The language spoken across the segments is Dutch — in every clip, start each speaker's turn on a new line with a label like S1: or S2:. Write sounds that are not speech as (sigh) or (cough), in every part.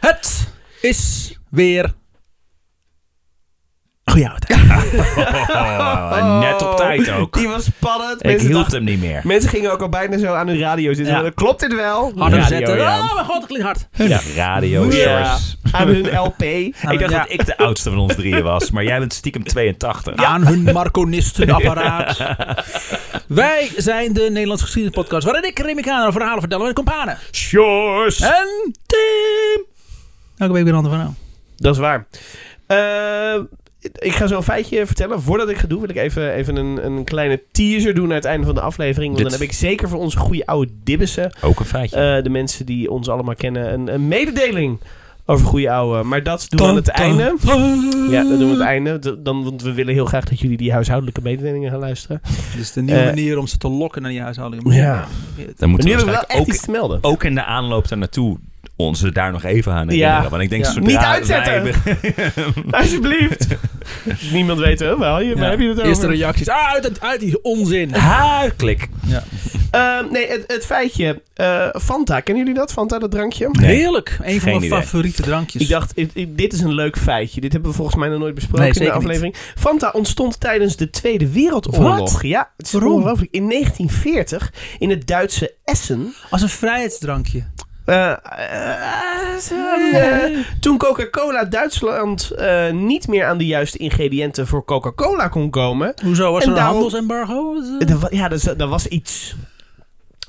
S1: Het is weer.
S2: Goeie oud.
S3: Oh, net op tijd ook.
S2: Die was spannend.
S3: Ik
S2: Mensen,
S3: hield
S2: dachten-
S3: hem niet meer.
S2: mensen gingen ook al bijna zo aan hun radio zitten.
S1: Ja.
S2: Klopt dit wel?
S1: Harder
S3: Radio,
S1: zetten.
S3: ja.
S1: Oh, mijn god, dat klinkt hard.
S3: Ja, radio
S2: Ja.
S3: shorts.
S2: Aan hun LP.
S3: Ik dacht
S1: Ja.
S3: dat ik de oudste van ons drieën was, maar jij bent stiekem 82.
S1: Aan hun marconistenapparaat. (laughs) Wij zijn de Nederlandse geschiedenispodcast. Waarin ik Remy Kaner verhalen vertel over de kompanen.
S3: Shorts!
S1: En Tim. Elke week weer een ander verhaal.
S2: Dat is waar. Eh, ik ga zo een feitje vertellen. Voordat ik ga doen, wil ik even, even een, een kleine teaser doen aan het einde van de aflevering. Want
S3: Dit-
S2: dan heb ik zeker voor onze goede oude dibbissen,
S3: Ook een feitje.
S2: eh, de mensen die ons allemaal kennen, een, een mededeling over goede oude. Maar dat doen we aan het einde. Ja, dat doen we aan het einde. D- Dan, want we willen heel graag dat jullie die huishoudelijke mededelingen gaan luisteren.
S1: Dit is de nieuwe
S2: Eh.
S1: manier om ze te lokken naar die huishouding.
S3: Dan
S2: Maar
S3: moeten we
S2: nu hebben we wel
S3: waarschijnlijk
S2: echt
S3: ook,
S2: iets te melden.
S1: (laughs)
S3: ook in de aanloop daar naartoe ons daar nog even aan
S2: Ja.
S3: herinneren. Want ik denk
S1: Ja.
S3: zodra
S2: Niet uitzetten!
S3: wij be-
S2: Alsjeblieft. (laughs) Niemand weet wel, waar je, waar heb je het over?
S1: Eerste reacties. Ah, uit, uit, uit die onzin.
S3: Haarklik.
S2: Ehm, nee, het, het feitje. eh, Fanta, kennen jullie dat? Fanta, dat drankje?
S3: Nee.
S1: Heerlijk. Een van
S3: Geen
S1: mijn
S3: idee.
S1: favoriete drankjes.
S2: Ik dacht, i- i- dit is een leuk feitje. Dit hebben we volgens mij nog nooit besproken
S1: Nee,
S2: in de
S1: zeker niet.
S2: aflevering. Fanta ontstond tijdens de Tweede Wereldoorlog.
S1: Wat?
S2: Ja, het is
S1: Waarom?
S2: ongelooflijk. In 1940 in het Duitse Essen.
S1: Als een vrijheidsdrankje.
S2: eh, eh, eh, eh, toen Coca-Cola Duitsland eh, niet meer aan de juiste ingrediënten voor Coca-Cola kon komen.
S1: Hoezo? Was er
S2: En
S1: een
S2: daarom-
S1: handelsembargo? Wat, eh?
S2: Er wa- ja, er, za- er was iets.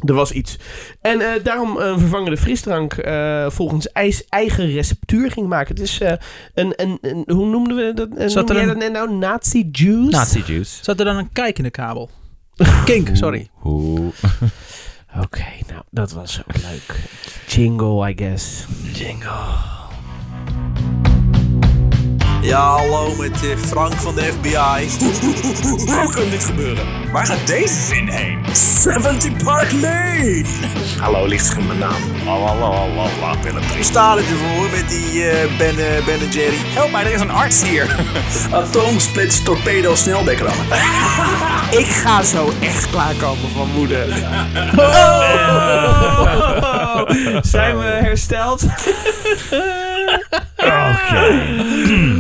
S2: Er was iets. En eh, daarom een vervangende frisdrank eh, volgens ijs eigen receptuur ging maken. Het is eh, een, een, een- Hoe noemden we dat? Eh,
S1: Zat
S2: Noemde
S1: er
S2: jij
S1: een-
S2: dat net nou? Nazi juice?
S3: Nazi juice.
S1: Zat er dan een kijk in de kabel? Kink, sorry.
S3: Hoe?
S2: Oké, nou, dat was ook leuk. Jingle, I guess.
S4: Ja, hallo met eh, Frank van de FBI. Hoe kan dit gebeuren? Waar gaat deze zin heen? 70 Park Lane! Hallo, ligt in mijn naam. Sta er ervoor met die eh ben, eh, ben en Jerry. Help mij, er is een arts (laughs) hier. Atoomsplits torpedo sneldekker (laughs) Ik ga zo echt klaarkomen van moeder.
S2: (laughs)
S4: (laughs)
S1: Oh.
S2: Zijn we hersteld?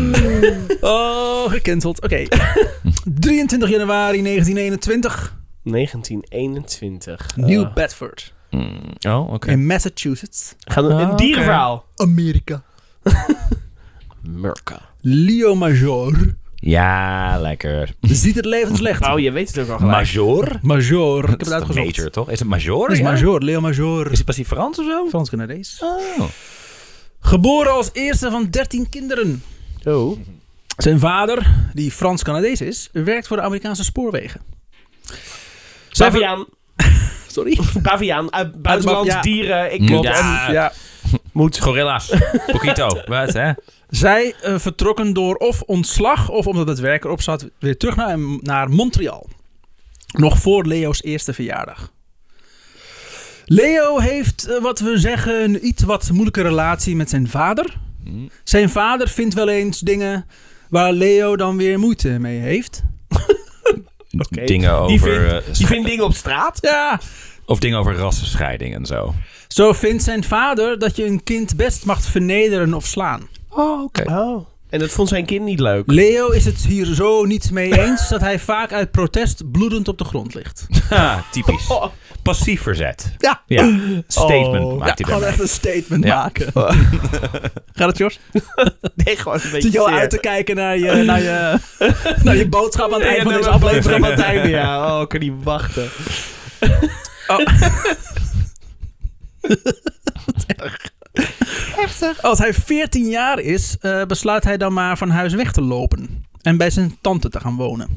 S2: (laughs)
S1: Oh, gecanceld. Oké. (laughs) 23 januari 1921.
S2: 1921.
S1: New
S4: Ah.
S2: Oh.
S1: Bedford.
S3: Oh, oké.
S1: In Massachusetts.
S2: Gaan we- een dierenverhaal.
S1: Amerika.
S2: Murka.
S1: Leo Major.
S3: Ja, lekker.
S1: Ziet het
S4: (laughs)
S1: levenslicht.
S2: Oh, je weet het ook al gelijk.
S3: Major?
S1: Major. Ik heb het
S3: Dat is toch
S1: uitgezocht.
S3: major, toch? Is het major?
S1: Dat is
S3: Ja?
S1: Major. Leo Major.
S3: Is het pas Frans of zo?
S1: Frans Canadees.
S3: Oh.
S1: Geboren als eerste van 13 kinderen.
S2: Oh.
S1: Zijn vader, die Frans-Canadees is, werkt voor de Amerikaanse spoorwegen. Zijn ver-
S2: Baviaan.
S1: Sorry.
S2: Baviaan. uit buitenlands
S1: ja.
S2: dieren. Ik
S3: Klopt.
S2: Ja.
S3: Ja.
S1: Ja.
S3: Moet. (laughs) Gorilla's. Poquito. Wat, hè?
S1: Zij eh, vertrokken door of ontslag of omdat het werk erop zat, weer terug naar, naar Montreal. Nog voor Leo's eerste verjaardag. Leo heeft, eh, wat we zeggen, een iets wat moeilijke relatie met zijn vader. Zijn vader vindt wel eens dingen waar Leo dan weer moeite mee heeft.
S2: Oké.
S3: Dingen over...
S2: Die vindt,
S3: eh,
S2: die vindt dingen op straat.
S1: Ja,
S3: Of dingen over rassenscheiding en zo.
S1: zo vindt zijn vader dat je een kind best mag vernederen of slaan.
S3: Oh, oké. (laughs)
S2: Oh. En dat vond zijn kind niet leuk.
S1: Leo is het hier zo niet mee eens dat hij vaak uit protest bloedend op de grond ligt.
S3: Ah, typisch. Passief verzet.
S1: Ja.
S3: Ja. Statement
S2: Oh.
S3: maakt hij
S1: Gewoon
S3: daarmee.
S1: echt een statement
S3: Ja. (laughs)
S1: maken. Gaat het, Jos?
S2: Nee, gewoon een beetje
S1: Zit je al
S2: zeer.
S1: uit te kijken naar je, naar
S3: (laughs)
S1: je, naar je boodschap aan het
S2: Ja,
S1: einde van
S2: nou,
S1: deze
S2: dat bleef
S1: aflevering?
S2: er aan het einde, (laughs) ja. Oh, ik kan niet (laughs) wachten.
S1: Als hij 14 jaar is, eh, besluit hij dan maar van huis weg te lopen. En bij zijn tante te gaan wonen.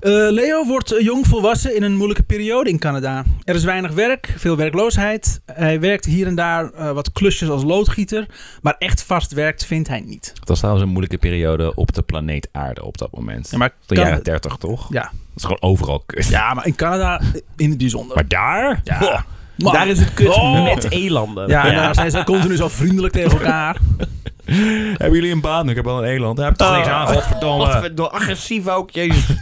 S1: Eh, Leo wordt eh, jong volwassen in een moeilijke periode in Canada. Er is weinig werk, veel werkloosheid. Hij werkt hier en daar eh, wat klusjes als loodgieter. Maar echt vast werkt vindt hij niet.
S3: Dat was trouwens een moeilijke periode op de planeet aarde op dat moment.
S1: Ja, maar
S3: de
S1: kan-
S3: jaren 30 toch?
S1: Ja.
S3: Dat is gewoon overal kut.
S1: ja, maar in Canada in het bijzonder.
S3: Maar daar?
S1: Ja.
S3: Boah.
S1: Maar-
S2: Daar is het kut
S3: Oh.
S2: met elanden.
S1: Ja, en daar zijn ze continu zo vriendelijk tegen elkaar.
S3: Hebben jullie een baan? Ik heb wel een eland. Daar heb ik toch
S2: Oh.
S3: niks aan, godverdomme.
S2: Wat door agressief ook, jezus.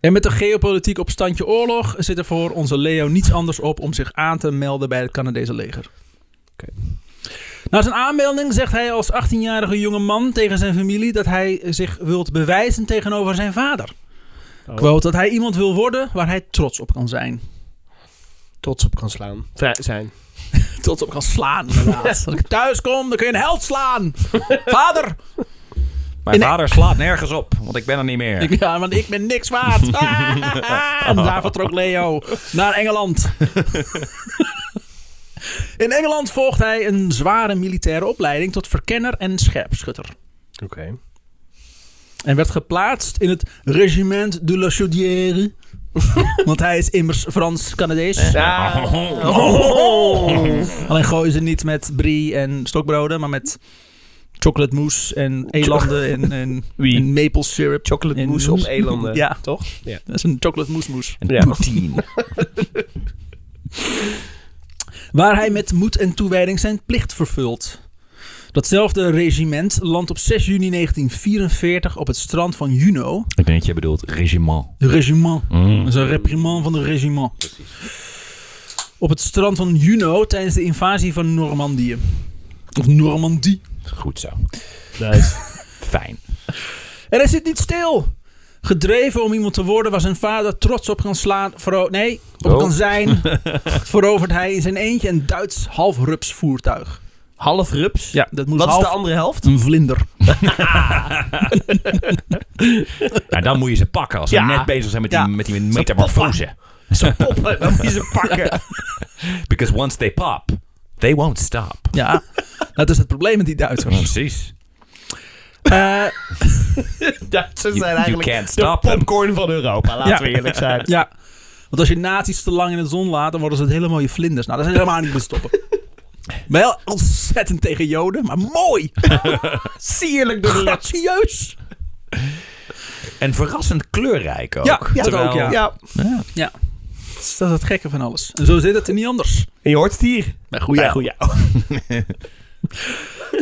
S1: En met de geopolitiek op standje oorlog zit er voor onze Leo niets anders op om zich aan te melden bij het Canadese leger.
S2: Oké.
S1: Na Na zijn aanmelding zegt hij als 18-jarige jonge man tegen zijn familie dat hij zich wilt bewijzen tegenover zijn vader.
S2: Oh.
S1: Quote, dat hij iemand wil worden waar hij trots op kan zijn.
S2: Trots op kan slaan. Vrij zijn.
S1: Trots op kan slaan, inderdaad. (laughs) Als ik thuis kom, dan kun je een held slaan. Vader!
S3: Mijn
S1: Nee.
S3: vader slaat nergens op, want ik ben er niet meer.
S1: e- Ik, ja, want ik ben niks waard. Ah, en daar vertrok Leo naar Engeland. In Engeland volgt hij een zware militaire opleiding tot verkenner en scherpschutter.
S2: Oké.
S1: En werd geplaatst in het regiment de la Chaudière. (laughs) Want hij is immers Frans-Canadees.
S3: Oh.
S1: Alleen gooien ze niet met brie en stokbroden, maar met chocolate mousse en elanden en, en,
S2: Wie?
S1: en maple syrup.
S2: Chocolate
S1: En
S2: mousse op
S1: mousse.
S2: elanden.
S1: (laughs) Ja.
S2: eh, Toch? Ja.
S1: Dat is een chocolate mousse mousse.
S3: Een
S2: Ja.
S3: poutine.
S1: (laughs) Waar hij met moed en toewijding zijn plicht vervult. Datzelfde regiment landt op 6 juni 1944 op het strand van Juno.
S3: Ik denk dat je bedoelt regiment.
S1: Regiment.
S3: Mm.
S1: Dat is een reprimand van het regiment. Op het strand van Juno tijdens de invasie van Normandië. Of Normandie.
S3: Goed zo.
S2: Nice.
S3: Fijn.
S1: En hij zit niet stil. Gedreven om iemand te worden waar zijn vader trots op kan slaan. vero- nee, op
S3: Oh.
S1: kan
S2: (laughs)
S1: zijn. verovert hij in zijn eentje een Duits halfrups voertuig.
S2: Half rups.
S1: Ja, dat moest
S2: Wat is
S1: half
S2: de andere helft?
S1: een vlinder.
S3: Nou, dan moet je ze pakken als ze
S2: Ja.
S3: net bezig zijn met die,
S1: Ja.
S3: met die metamorfose.
S2: Zo'n poppen. Dan moet je ze pakken.
S3: Because once they pop, they won't stop.
S1: (laughs) Ja, dat is het probleem met die Duitsers.
S3: Precies.
S1: Eh,
S2: Duitsers
S3: You-
S2: zijn
S3: you
S2: eigenlijk
S3: can't
S2: de
S3: stop them.
S2: popcorn van Europa. Laten
S1: Ja.
S2: we eerlijk zijn.
S1: ja, want als je nazi's te lang in de zon laat, dan worden ze het hele mooie vlinders. Nou, dat is helemaal niet te stoppen. Wel ontzettend tegen Joden, maar
S2: (laughs)
S1: mooi.
S2: (laughs) Sierlijk door de lucht.
S1: Gracieus.
S3: En verrassend kleurrijk ook.
S1: Ja, ja, dat
S3: Terwijl-
S1: ook, ja.
S2: Ja.
S3: Ja.
S1: Ja, dat is dat is het gekke van alles. En zo zit het er niet anders.
S2: En je hoort het hier.
S1: Maar goed,
S2: Bij goeie
S3: nou.
S2: ouwe.
S3: (laughs)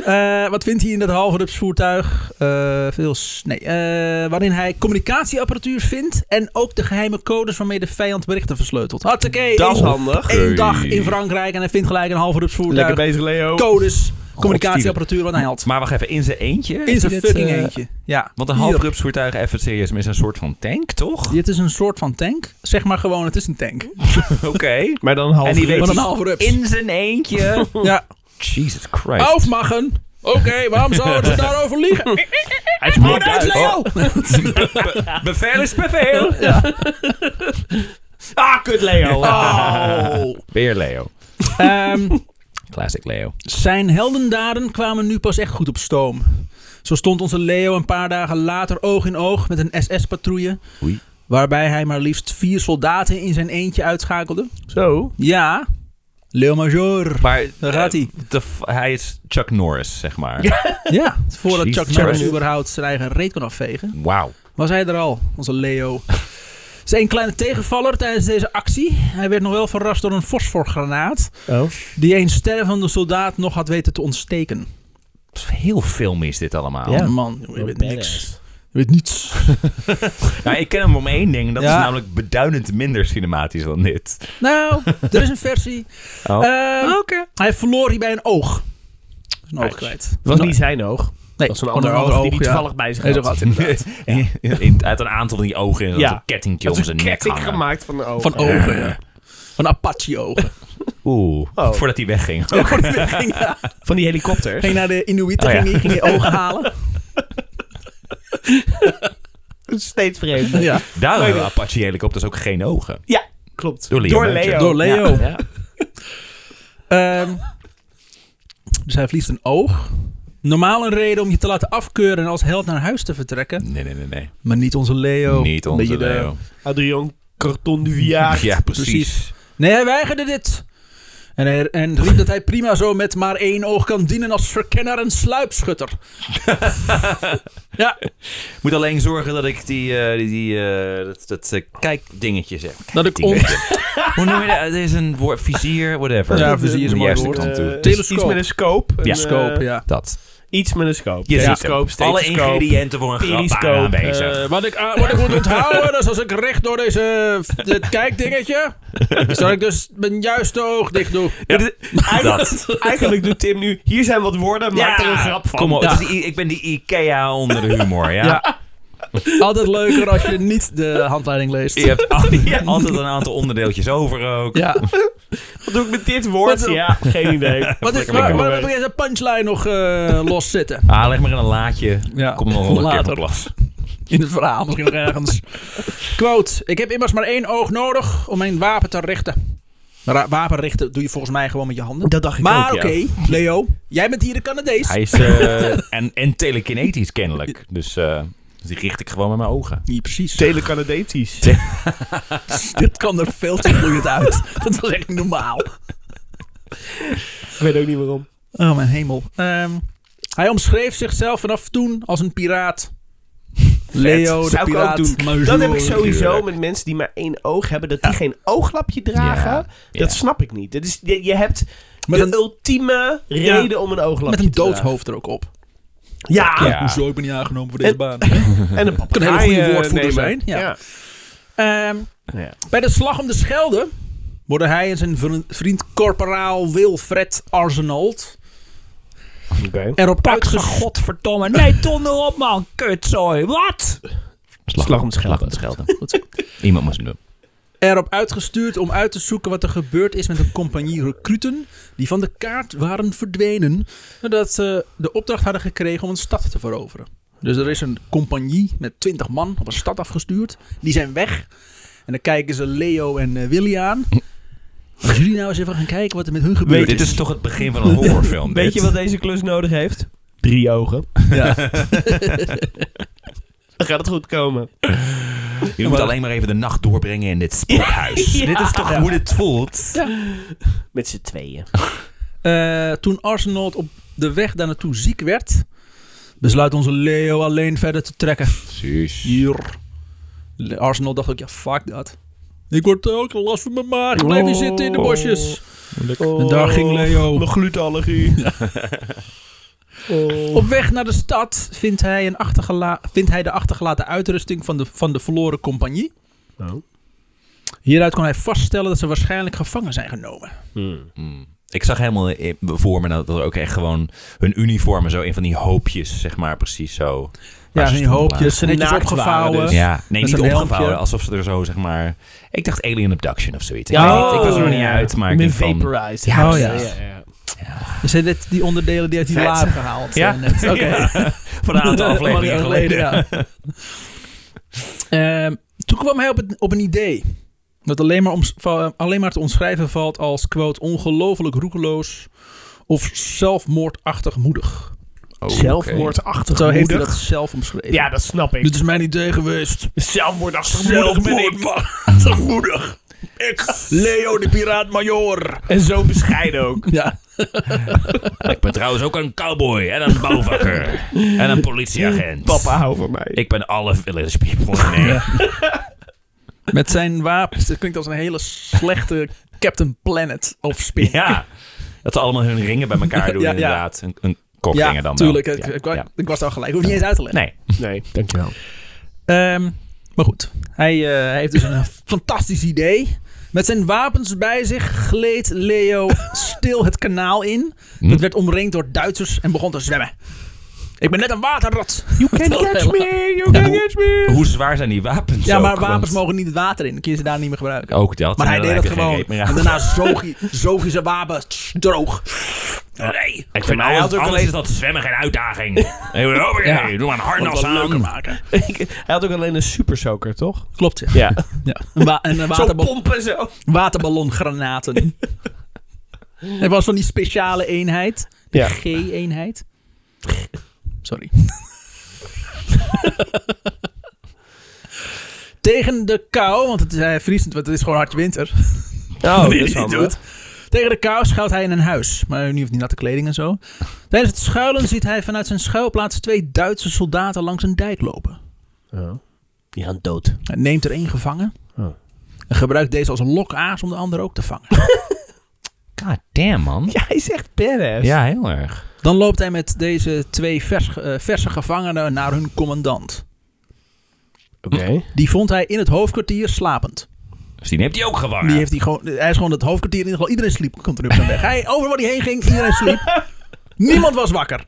S1: Eh, wat vindt hij in dat halverupsvoertuig? Eh veel snee. Eh, waarin hij communicatieapparatuur vindt en ook de geheime codes waarmee de vijand berichten versleutelt. Hartstikke
S2: Dat is handig.
S1: Eén dag in Frankrijk en hij vindt gelijk een
S2: Lekker
S1: halverupsvoertuig.
S2: bezig, Leo.
S1: Codes,
S3: Oh,
S1: communicatieapparatuur, wat een held.
S3: Maar wacht even, in zijn eentje?
S1: In
S3: heeft
S1: zijn
S3: hij dit,
S1: fucking
S3: eh,
S1: eentje. Ja.
S3: Want een
S1: Hier.
S3: halfrupsvoertuig, even serieus, is een soort van tank,
S1: (laughs)
S3: toch?
S1: Dit is een soort van tank. Zeg maar gewoon, het is een tank.
S3: Oké.
S2: Maar dan half
S3: En die
S2: rups.
S1: Wat
S3: weet
S1: een halverrups.
S3: (laughs) in zijn eentje.
S1: Ja.
S3: Jesus Christ.
S1: Oh, Aufmachen. Oké, waarom zouden
S3: (laughs)
S1: ze daarover liegen?
S2: Hij is
S1: Oh, daar is Leo.
S3: Be- bevel is bevel.
S2: Ah, kut Leo.
S3: (laughs)
S1: Oh.
S3: Weer Leo.
S1: Ehm,
S3: Classic Leo.
S1: zijn heldendaden kwamen nu pas echt goed op stoom. Zo stond onze Leo een paar dagen later oog in oog met een SS-patrouille.
S3: Oei.
S1: Waarbij hij maar liefst vier soldaten in zijn eentje uitschakelde.
S2: Zo.
S1: Ja, Leo Major.
S3: Maar
S1: Daar gaat hij.
S3: eh, de f- hij is Chuck Norris, zeg maar.
S1: Ja, (laughs) voordat
S3: Jezus
S1: Chuck Norris
S3: Christus.
S1: überhaupt zijn eigen reet kon afvegen.
S3: Wauw.
S1: Was hij er al, onze Leo? Zijn kleine tegenvaller tijdens deze actie. Hij werd nog wel verrast door een fosforgranaat.
S2: Oh.
S1: Die een stervende soldaat nog had weten te ontsteken.
S3: Heel film is dit allemaal.
S1: Oh man, joh, je weet niks. Je weet niets.
S3: Nou, ik ken hem om één ding. Dat
S1: Ja.
S3: is namelijk beduidend minder cinematisch dan dit.
S1: Nou, er is een (laughs) versie.
S3: Oh.
S1: Ehm, Hij verloor hierbij een oog. Een oog
S3: Nice.
S1: kwijt.
S2: Het was niet zijn oog.
S1: Nee,
S2: Het was een
S1: gewoon
S2: ander oog die
S1: ja.
S2: hij toevallig bij zich
S1: Hij
S2: had.
S1: zat wat,
S3: (laughs)
S1: inderdaad.
S3: In- in- uit een aantal van die ogen. En
S2: Ja.
S3: een kettingje
S2: Het
S3: om
S2: is een
S3: zijn nek
S2: ketting
S3: hangen.
S2: gemaakt van de ogen.
S1: Van ogen, Oh, ja. Van Apache-ogen.
S3: Oeh,
S2: Oh.
S3: voordat hij wegging.
S1: Ja, voor die weg ging, (laughs) ja.
S2: Van die helikopters.
S1: ging naar de Inuiten,
S3: Oh, ja.
S1: ging, die, ging die ogen halen.
S2: Steeds
S1: (laughs)
S2: vreemder.
S1: Ja.
S3: Daarom hebben Apache-helikopters ook geen ogen.
S2: Ja, klopt.
S3: Door Leo Manchester.
S1: Door Leo.
S2: Ja, ja.
S1: Ehm, dus hij verliest een oog. Normaal een reden om je te laten afkeuren en als held naar huis te vertrekken.
S3: Nee, nee, nee. nee.
S1: Maar niet onze Leo.
S3: Niet
S1: Oh, Een
S3: onze
S1: beetje de-
S3: Leo.
S2: Adrian Carton du
S3: (laughs)
S2: Villard.
S3: Ja, precies.
S1: Precies. Nee, hij weigerde dit. En, hij, en riep dat hij prima zo met maar één oog kan dienen als verkenner en sluipschutter. ja,
S3: Moet alleen zorgen dat ik die, eh, die, die eh, dat, dat eh, kijkdingetje zeg.
S1: dat ik on...
S3: Dingetje. Hoe noem je dat? Het is een woord, vizier, whatever.
S1: Ja, vizier is een
S3: De
S1: mooi
S3: juiste
S1: woord.
S3: kant toe.
S2: Eh,
S1: Telescoop.
S2: Iets met een scope. Een,
S3: Ja.
S2: eh,
S1: Scope, ja.
S3: Dat.
S2: Iets met een scoop.
S3: Je ziet
S2: Telescoop,
S3: hem. Alle
S2: stethoscoop,
S3: ingrediënten voor een grap
S2: periscoop,
S3: waren aanwezig.
S1: Eh, wat, ik, ah, wat ik moet onthouden, dat is als ik recht door deze, dit kijkdingetje, is dat ik dus mijn juiste oog dicht doe.
S3: (laughs)
S2: Dit is- Eigenlijk, (laughs) eigenlijk doet Tim nu... Hier zijn wat woorden, maak er een grap van.
S3: Kom op,
S1: Ja.
S3: het is die- ik ben die Ikea onder de humor, ja.
S1: Ja. Altijd leuker als je niet de handleiding leest.
S3: Je hebt
S2: (laughs)
S3: al- altijd een aantal onderdeeltjes over ook.
S1: Ja.
S2: Wat doe ik met dit woord?
S1: Wat-
S2: ja, geen idee.
S1: Wat is,
S3: Lekker, lekker.
S1: waar, waarom heb ik deze punchline nog eh, los zitten?
S3: Ah, leg maar in een laadje.
S1: Ja,
S3: Kom nog wel een keer
S1: later.
S3: van plas.
S1: In het verhaal misschien nog ergens. Quote. Ik heb immers maar één oog nodig om mijn wapen te richten. Ra- wapen richten doe je volgens mij gewoon met je handen.
S2: Dat dacht ik
S1: maar
S2: ook,
S1: oké,
S2: ja.
S1: Leo. Jij bent hier de Canadees.
S3: Hij is...
S2: (laughs)
S3: eh, en, en telekinetisch kennelijk. Dus eh, die richt ik gewoon met mijn ogen.
S1: Ja, precies.
S2: Telecanadetisch.
S1: (laughs) Dit kwam er veel te vloeiend uit. (laughs) Dat was echt niet normaal.
S2: Ik weet ook niet waarom.
S1: Oh, mijn hemel. Ehm, hij omschreef zichzelf vanaf toen als een piraat. Leo, de
S2: Zou ik ook
S1: piraat.
S2: doen.
S1: Mazur.
S2: Dat heb ik sowieso
S3: Tuurlijk.
S2: met mensen die maar één oog hebben. Dat die geen ooglapje dragen.
S3: Ja, ja.
S2: Dat snap ik niet. Dat is, je, je hebt
S1: Met
S2: de
S1: een-
S2: ultieme reden om een ooglapje
S1: Met een
S2: te dragen.
S1: doodhoofd er ook op. Ah,
S2: Ja.
S3: Ja.
S1: Hoezo, ik ben niet aangenomen voor deze
S2: En-
S1: (laughs) baan.
S2: En een
S1: Eh, Kan een hele goede
S2: papegaai, eh,
S1: woordvoerder
S2: nemen.
S1: zijn, ja. Ehm,
S2: Ja.
S1: bij de slag om de Schelde worden hij en zijn vri- vriend corporaal Wilfred Arsenault
S2: Oké.
S1: erop
S5: Ze
S1: uitgescholden.
S5: godverdomme. Nee, donder op, man. Kutzooi. Wat?
S2: Slag om het Schelde.
S3: Iemand moest hem doen.
S1: erop uitgestuurd om uit te zoeken wat er gebeurd is met een compagnie recruten die van de kaart waren verdwenen nadat ze de opdracht hadden gekregen om een stad te veroveren. Dus er is een compagnie met 20 man op een stad afgestuurd. Die zijn weg. En dan kijken ze Leo en eh, Willy aan. Als jullie nou eens even gaan kijken wat er met hun gebeurd
S3: Dit is toch het begin van een horrorfilm.
S2: (laughs) Weet je
S3: dit.
S2: wat deze klus nodig heeft? Drie ogen.
S1: Ja.
S2: Dan gaat het goed komen.
S3: Je moet alleen maar even de nacht doorbrengen in dit spookhuis.
S2: (laughs)
S3: Dit is toch hoe dit voelt?
S2: Met z'n tweeën.
S1: Eh, toen Arsenal op de weg daar naartoe ziek werd, besluit onze Leo alleen verder te trekken.
S3: Precies.
S1: Hier. Arsenal dacht ook, ja, fuck dat. Oh. Ik word ook last van mijn maag. Ik blijf hier zitten in de bosjes. En daar ging Leo.
S2: Oh. Mijn
S1: (laughs)
S2: glutenallergie. Oh.
S1: Op weg naar de stad vindt hij, een achtergela- vindt hij de achtergelaten uitrusting van de, van de verloren compagnie. Oh. Hieruit kon hij vaststellen dat ze waarschijnlijk gevangen zijn genomen.
S2: Hmm.
S3: Mm. Ik zag helemaal in- voor me dat er ook echt gewoon hun uniformen zo in van die hoopjes, zeg maar, precies zo.
S1: Ja,
S3: waar ze
S1: die
S3: stonden
S1: hoopjes. Ze netjes
S2: Naakt waren
S1: opgevouwen.
S2: dus.
S3: lagen. Ja, nee,
S1: Met
S3: niet
S1: een helmpje.
S3: opgevouwen, alsof ze er zo, zeg maar... Ik dacht Alien Abduction of zoiets. Ik,
S1: Ja,
S3: weet niet, ik was er nog
S2: Oh.
S3: niet uit, maar ik
S2: ben
S3: denk van...
S2: vaporized.
S1: Ja, oh ja.
S2: ja.
S1: Dus hij heeft die onderdelen die uit die
S2: Vet.
S1: laar gehaald.
S3: Ja?
S1: eh, net. Oké.
S3: Ja,
S2: (laughs)
S3: van een
S1: (laughs)
S3: aantal afleveringen
S1: Maanden
S3: geleden.
S2: (laughs)
S1: ja. Ehm, toen kwam hij op, het, op een idee. Dat alleen maar, om, alleen maar te omschrijven valt als, quote, ongelooflijk roekeloos of zelfmoordachtig moedig.
S3: Oh, oké.
S2: Zelfmoordachtig
S1: Zo heeft hij
S2: moedig.
S1: dat zelf omschreven.
S2: Ja, dat snap ik.
S1: Dit is mijn idee geweest.
S2: Zelfmoordachtig moedig ben ik.
S1: (laughs)
S2: (laughs)
S1: moedig. Ik, Leo de Piraat-Major.
S2: En zo bescheiden ook.
S1: Ja.
S3: Ik ben trouwens ook een cowboy en een
S2: (laughs)
S3: bouwvakker en een politieagent.
S2: Papa, hou van mij.
S3: Ik ben alle village
S2: (laughs)
S3: people. Nee.
S1: Met zijn wapens. Dat klinkt als een hele slechte Captain Planet of Spin.
S3: Ja, dat ze allemaal hun ringen bij elkaar doen
S1: Ja, ja.
S3: inderdaad. Een, een kokringen dan wel.
S1: tuurlijk. Ik,
S3: Ja,
S1: ik, wa-
S3: ja.
S1: ik was daar gelijk. Ik hoef niet eens uit te leggen.
S3: Nee.
S2: Nee, dankjewel.
S1: Ehm, maar goed, hij, eh, hij heeft dus een fantastisch idee. Met zijn wapens bij zich gleed Leo stil het kanaal in.
S3: Hm.
S1: Dat werd omringd door Duitsers en begon te zwemmen. Ik ben net een waterrat.
S2: You can catch me, you can
S3: Ja.
S2: catch me.
S3: Hoe zwaar zijn die wapens
S1: Ja, maar
S3: ook?
S1: wapens
S3: Want
S1: mogen niet het water in. Dan kun je ze daar niet meer gebruiken.
S3: Ook dat.
S1: maar
S3: en
S1: hij
S3: Oh, nou, dan
S1: deed
S3: heb
S1: dat
S3: je geen
S1: gewoon.
S3: reet meer
S1: En (laughs)
S3: aan.
S1: daarna zoog hij, zoog hij zijn wapen droog. Nee.
S3: Ik vind
S2: hij
S3: alles,
S2: had ook
S3: alles
S2: alleen-
S3: is dat zwemmen geen uitdaging.
S1: (laughs)
S3: Hey, hoppakee,
S1: Ja.
S3: Doe maar een
S1: Om het
S3: harnas
S1: wat leuker
S3: aan.
S1: maken.
S2: Hij had ook alleen een super soaker, toch?
S1: Klopt, ja.
S2: (laughs) Ja.
S1: ja. Een wa- (laughs) en een
S2: Zo
S1: waterbal
S2: pompen zo.
S1: (laughs) waterballongranaten. Het was van die speciale eenheid. De
S2: (laughs) Ja.
S1: G-eenheid. Sorry. (laughs) Tegen de kou, want het is eh, vriezend, want het is gewoon hard winter. (laughs)
S2: Oh,
S1: dat is handig. Tegen de kou schuilt hij in een huis. Maar nu heeft hij natte kleding en zo. Tijdens het schuilen ziet hij vanuit zijn schuilplaats twee Duitse soldaten langs een dijk lopen.
S2: Die gaan dood.
S1: Hij neemt er één gevangen.
S2: Oh.
S1: En gebruikt deze als lokaas om de ander ook te vangen.
S3: God damn, man.
S2: Ja, hij is echt badass.
S3: Ja, heel erg.
S1: Dan loopt hij met deze twee vers, eh, verse gevangenen naar hun commandant.
S2: Oké.
S1: Die vond hij in het hoofdkwartier slapend.
S3: Dus die heeft hij ook
S2: Oh,
S3: gevangen.
S1: Die heeft hij, gewoon, hij is gewoon het hoofdkwartier in ieder geval. Iedereen sliep. Komt er nu op zijn weg. Hij, over waar hij heen ging, iedereen
S2: (laughs)
S1: sliep. Niemand was wakker.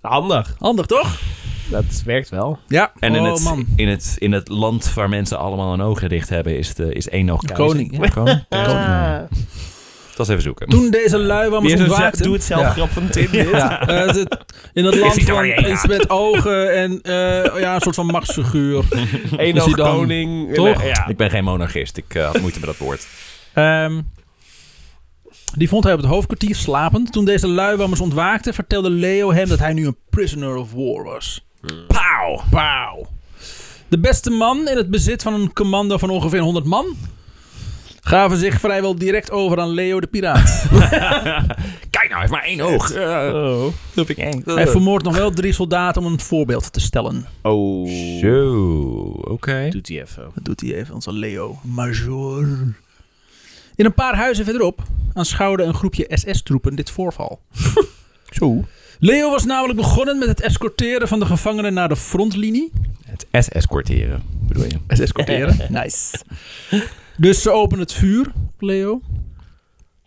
S2: Handig.
S1: Handig toch?
S2: Dat werkt wel.
S1: Ja.
S3: En in,
S1: oh,
S3: het,
S1: man.
S3: In, het, in het land waar mensen allemaal hun ogen dicht hebben, is, de, is één oog keizer.
S1: Koning, ja.
S3: Koning. Dat is even zoeken.
S1: Toen deze lui
S2: Weer
S1: wammers
S2: zo'n
S1: ontwaakten...
S2: doe het zelf
S1: Ja.
S2: grap van Tim. dit.
S1: Ja,
S2: (laughs)
S1: eh, het- in het land
S3: hij
S1: van
S3: doorheen
S1: iets
S3: gaat?
S1: met ogen en eh, ja, een soort van machtsfiguur.
S2: Eén
S1: Is hij
S2: oog
S1: dan-
S2: koning.
S1: Toch?
S2: Ja.
S3: Ik ben geen monarchist. Ik eh, had moeite met dat woord.
S1: Ehm, die vond hij op het hoofdkwartier slapend. Toen deze luiwammers ontwaakten, vertelde Leo hem dat hij nu een prisoner of war was. Pauw! Pauw! De beste man in het bezit van een commando van ongeveer 100 man gaven zich vrijwel direct over aan Leo de Piraat.
S3: Kijk nou, hij heeft maar één oog. Eh,
S2: Oh.
S3: dat vind ik eng.
S1: hij vermoordt nog wel drie soldaten om een voorbeeld te stellen.
S2: oh.
S3: Zo, oké.
S2: Doet hij even.
S1: Dat doet hij even, onze Leo Major. In een paar huizen verderop aanschouwde een groepje SS-troepen dit voorval.
S2: (laughs) Zo.
S1: Leo was namelijk begonnen met het escorteren van de gevangenen naar de frontlinie.
S3: Het SS-kwartieren, bedoel je?
S2: (laughs)
S1: Escorteren? nice. Dus ze openen het vuur, Leo.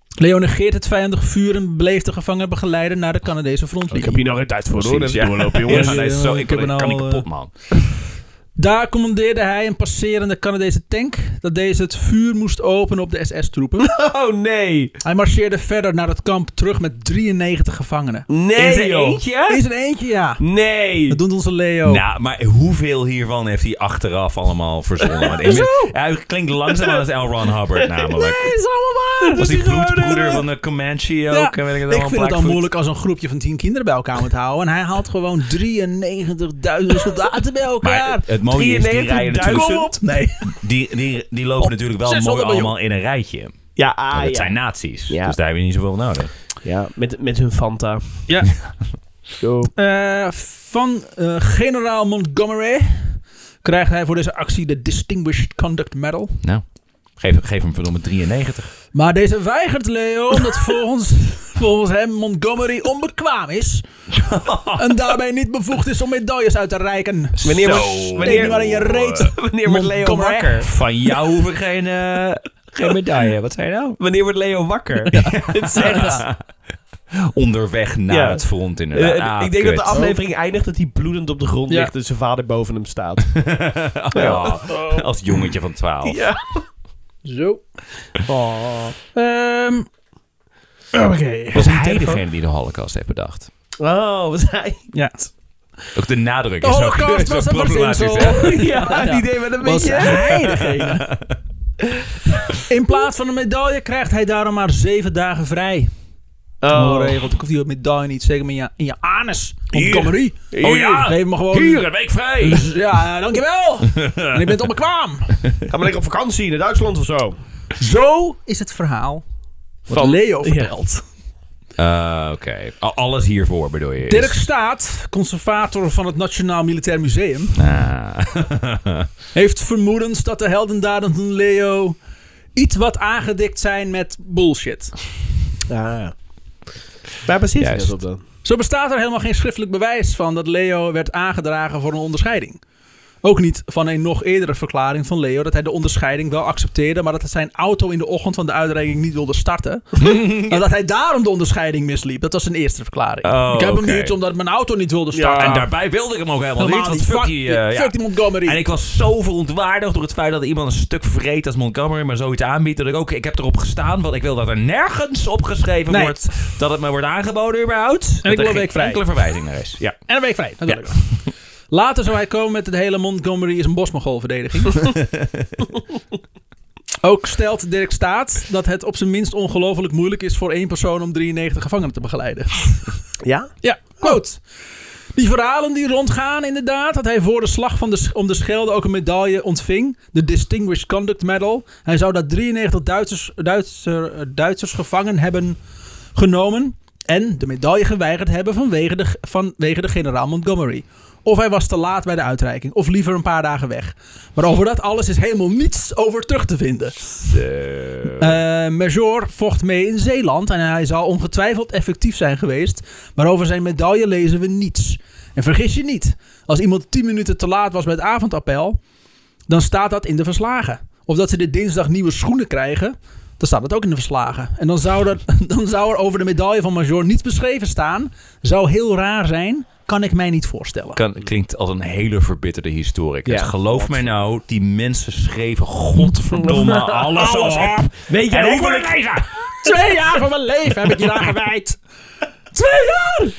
S1: Leo negeert het vijandig vuur en beleeft de gevangenen begeleiden naar de Canadese
S2: Ik
S1: frontlinie.
S2: heb hier nog geen tijd voor. Hoor.
S3: Precies,
S2: Even
S3: ja.
S2: doorlopen,
S3: Ja,
S2: jongens.
S3: dat is zo,
S1: Ik
S3: ik,
S1: heb
S3: kan-
S1: een
S3: kan
S1: al,
S3: niet kapot, man.
S1: Daar commandeerde hij een passerende Canadese tank dat deze het vuur moest openen op de SS-troepen.
S2: Oh nee.
S1: Hij marcheerde verder naar het kamp terug met 93 gevangenen.
S3: Is
S2: Nee,
S3: er
S2: joh.
S3: eentje?
S1: Is er eentje, ja.
S2: Nee.
S1: Dat doet onze Leo.
S3: Nou, maar hoeveel hiervan heeft hij achteraf allemaal verzonnen? Want ik- Hij klinkt langzaam als L. Ron Hubbard namelijk.
S1: Nee, is allemaal waar.
S3: was die
S1: Dat is gewoon,
S3: bloedbroeder
S1: eh,
S3: van de Comanche
S1: ja,
S3: ook? en weet ik,
S1: ik
S3: het allemaal,
S1: vind het al
S3: Blackfoot.
S1: moeilijk als een groepje van 10 kinderen bij elkaar moet houden. En hij haalt gewoon 93.000
S3: (laughs)
S1: soldaten bij
S3: Maar eh,
S1: elkaar.
S3: het, het mooie is, die rijden
S2: 93.000.
S3: natuurlijk...
S1: Kom op. Nee.
S3: Die, die, die lopen natuurlijk wel mooi
S1: 600 miljoen.
S3: allemaal in een rijtje.
S2: Ja,
S3: Maar
S2: ah,
S3: dat
S2: ja.
S3: zijn nazi's.
S2: Ja.
S3: Dus daar heb je niet zoveel nodig.
S2: ja met, met hun Fanta.
S1: Ja.
S2: Zo.
S1: Eh, van eh, generaal Montgomery krijgt hij voor deze actie de Distinguished Conduct Medal.
S3: Nou, geef, geef hem verdomme 93.
S1: Maar deze weigert Leo
S3: (laughs)
S1: omdat volgens, volgens hem Montgomery onbekwaam
S3: (laughs)
S1: is. en daarbij niet bevoegd is om medailles uit te reiken.
S2: Wanneer
S3: Zo.
S2: wordt- wanneer-
S1: Denk nu maar aan je reet.
S2: (laughs) Wanneer wordt Leo
S1: Montgomery.
S2: wakker?
S3: Van jou hoef ik geen, eh, geen medaille. Wat zei je nou?
S2: Wanneer wordt
S3: (laughs)
S2: Leo wakker? (laughs) Het is echt...
S3: Onderweg naar
S2: Ja.
S3: het front
S2: Eh,
S3: inderdaad. Ah,
S2: ik denk
S3: kut.
S2: dat de aflevering eindigt dat hij bloedend op de grond
S1: Ja.
S2: ligt en zijn vader boven hem
S3: (laughs)
S2: staat.
S3: Ja, Oh. Als jongetje van 12.
S2: ja.
S1: Zo. Oh. Ehm, Oké.
S3: Was hij degene die de holocaust heeft bedacht?
S2: Oh, wat hij.
S3: (laughs)
S1: Ja.
S3: Ook de nadruk
S1: De
S3: is zo,
S1: holocaust
S3: zo
S1: was een
S3: problematisch.
S1: verzinsel. (laughs)
S3: hè?
S2: (laughs) Ja, die deed wel een
S1: Was
S2: beetje.
S1: hij degene? (laughs) In plaats van een medaille krijgt hij daarom maar zeven dagen vrij. Oh. regelt. Ik hoef die medaille niet. Zeker maar in je, in je anus. Montgomery.
S3: Oh ja.
S1: Geef me gewoon...
S3: Hier, een week vrij.
S1: Dus, ja, dankjewel. en ik ben onbekwaam.
S2: Ga maar lekker op vakantie naar Duitsland of zo.
S1: Zo is het verhaal wat
S2: Van-
S1: Leo vertelt.
S3: Eh, Oké. Al- Alles hiervoor bedoel je? is-
S1: Dirk Staat, conservator van het Nationaal Militair Museum,
S3: (laughs) Ah.
S1: heeft vermoedens dat de heldendaden van Leo iets wat aangedikt zijn met bullshit.
S2: Ja. Waar baseert hij
S3: Juist.
S2: dat op dan?
S1: Zo bestaat er helemaal geen schriftelijk bewijs van dat Leo werd aangedragen voor een onderscheiding. Ook niet van een nog eerdere verklaring van Leo dat hij de onderscheiding wel accepteerde, maar dat hij zijn auto in de ochtend van de uitreiking niet wilde
S3: (laughs)
S1: starten. en dat hij daarom de onderscheiding misliep. Dat was zijn eerste verklaring.
S3: Oh,
S1: ik heb
S3: oké.
S1: hem niet omdat mijn auto niet wilde starten.
S3: En daarbij wilde ik hem ook helemaal,
S1: Helemaal
S3: niet.
S1: niet.
S3: want
S1: Fuck
S3: fuck die, eh, ja.
S1: fuck die Montgomery.
S3: En ik was zo verontwaardigd door het feit dat iemand een stuk vreed als Montgomery maar zoiets aanbiedt. Dat ik ook, ik heb erop gestaan, want ik wil dat er nergens opgeschreven
S1: Nee.
S3: wordt dat het me wordt aangeboden überhaupt. dat
S1: wil
S3: er
S1: een
S3: geen
S1: week vrij.
S3: enkele verwijzing naar is. Ja.
S1: En dan ben ik vrij. natuurlijk. (laughs) Later zou hij komen met de hele Montgomery is een bosmogol verdediging. (laughs) Ook stelt Dirk Staat dat het op zijn minst ongelooflijk moeilijk is voor één persoon om 93 gevangenen te begeleiden.
S2: Ja?
S1: Ja, quote. Die verhalen die rondgaan inderdaad, dat hij voor de slag van de, Sch- om de Schelde ook een medaille ontving, de Distinguished Conduct Medal. eh, Hij zou daar 93 Duitsers, Duitser, Duitsers gevangen hebben genomen En de medaille geweigerd hebben vanwege de, vanwege de generaal Montgomery. Of hij was te laat bij de uitreiking, of liever een paar dagen weg. Maar over dat alles is helemaal niets over terug te vinden. Eh, Major vocht mee in Zeeland en hij zal ongetwijfeld effectief zijn geweest. Maar over zijn medaille lezen we niets. En vergis je niet, als iemand 10 minuten te laat was bij het avondappel, dan staat dat in de verslagen. Of dat ze dit dinsdag nieuwe schoenen krijgen, dan staat dat ook in de verslagen. En dan zou, er, (laughs) dan zou er over de medaille van Major niets beschreven staan. Zou heel raar zijn, kan ik mij niet voorstellen.
S3: Kan, klinkt als een hele verbitterde historicus.
S2: Ja.
S3: Geloof mij nou, die mensen schreven godverdomme alles als op.
S2: Weet
S3: En
S2: nog
S3: ik wil het lezen!
S1: Twee jaar van mijn leven heb ik hier aan gewijd. Twee jaar!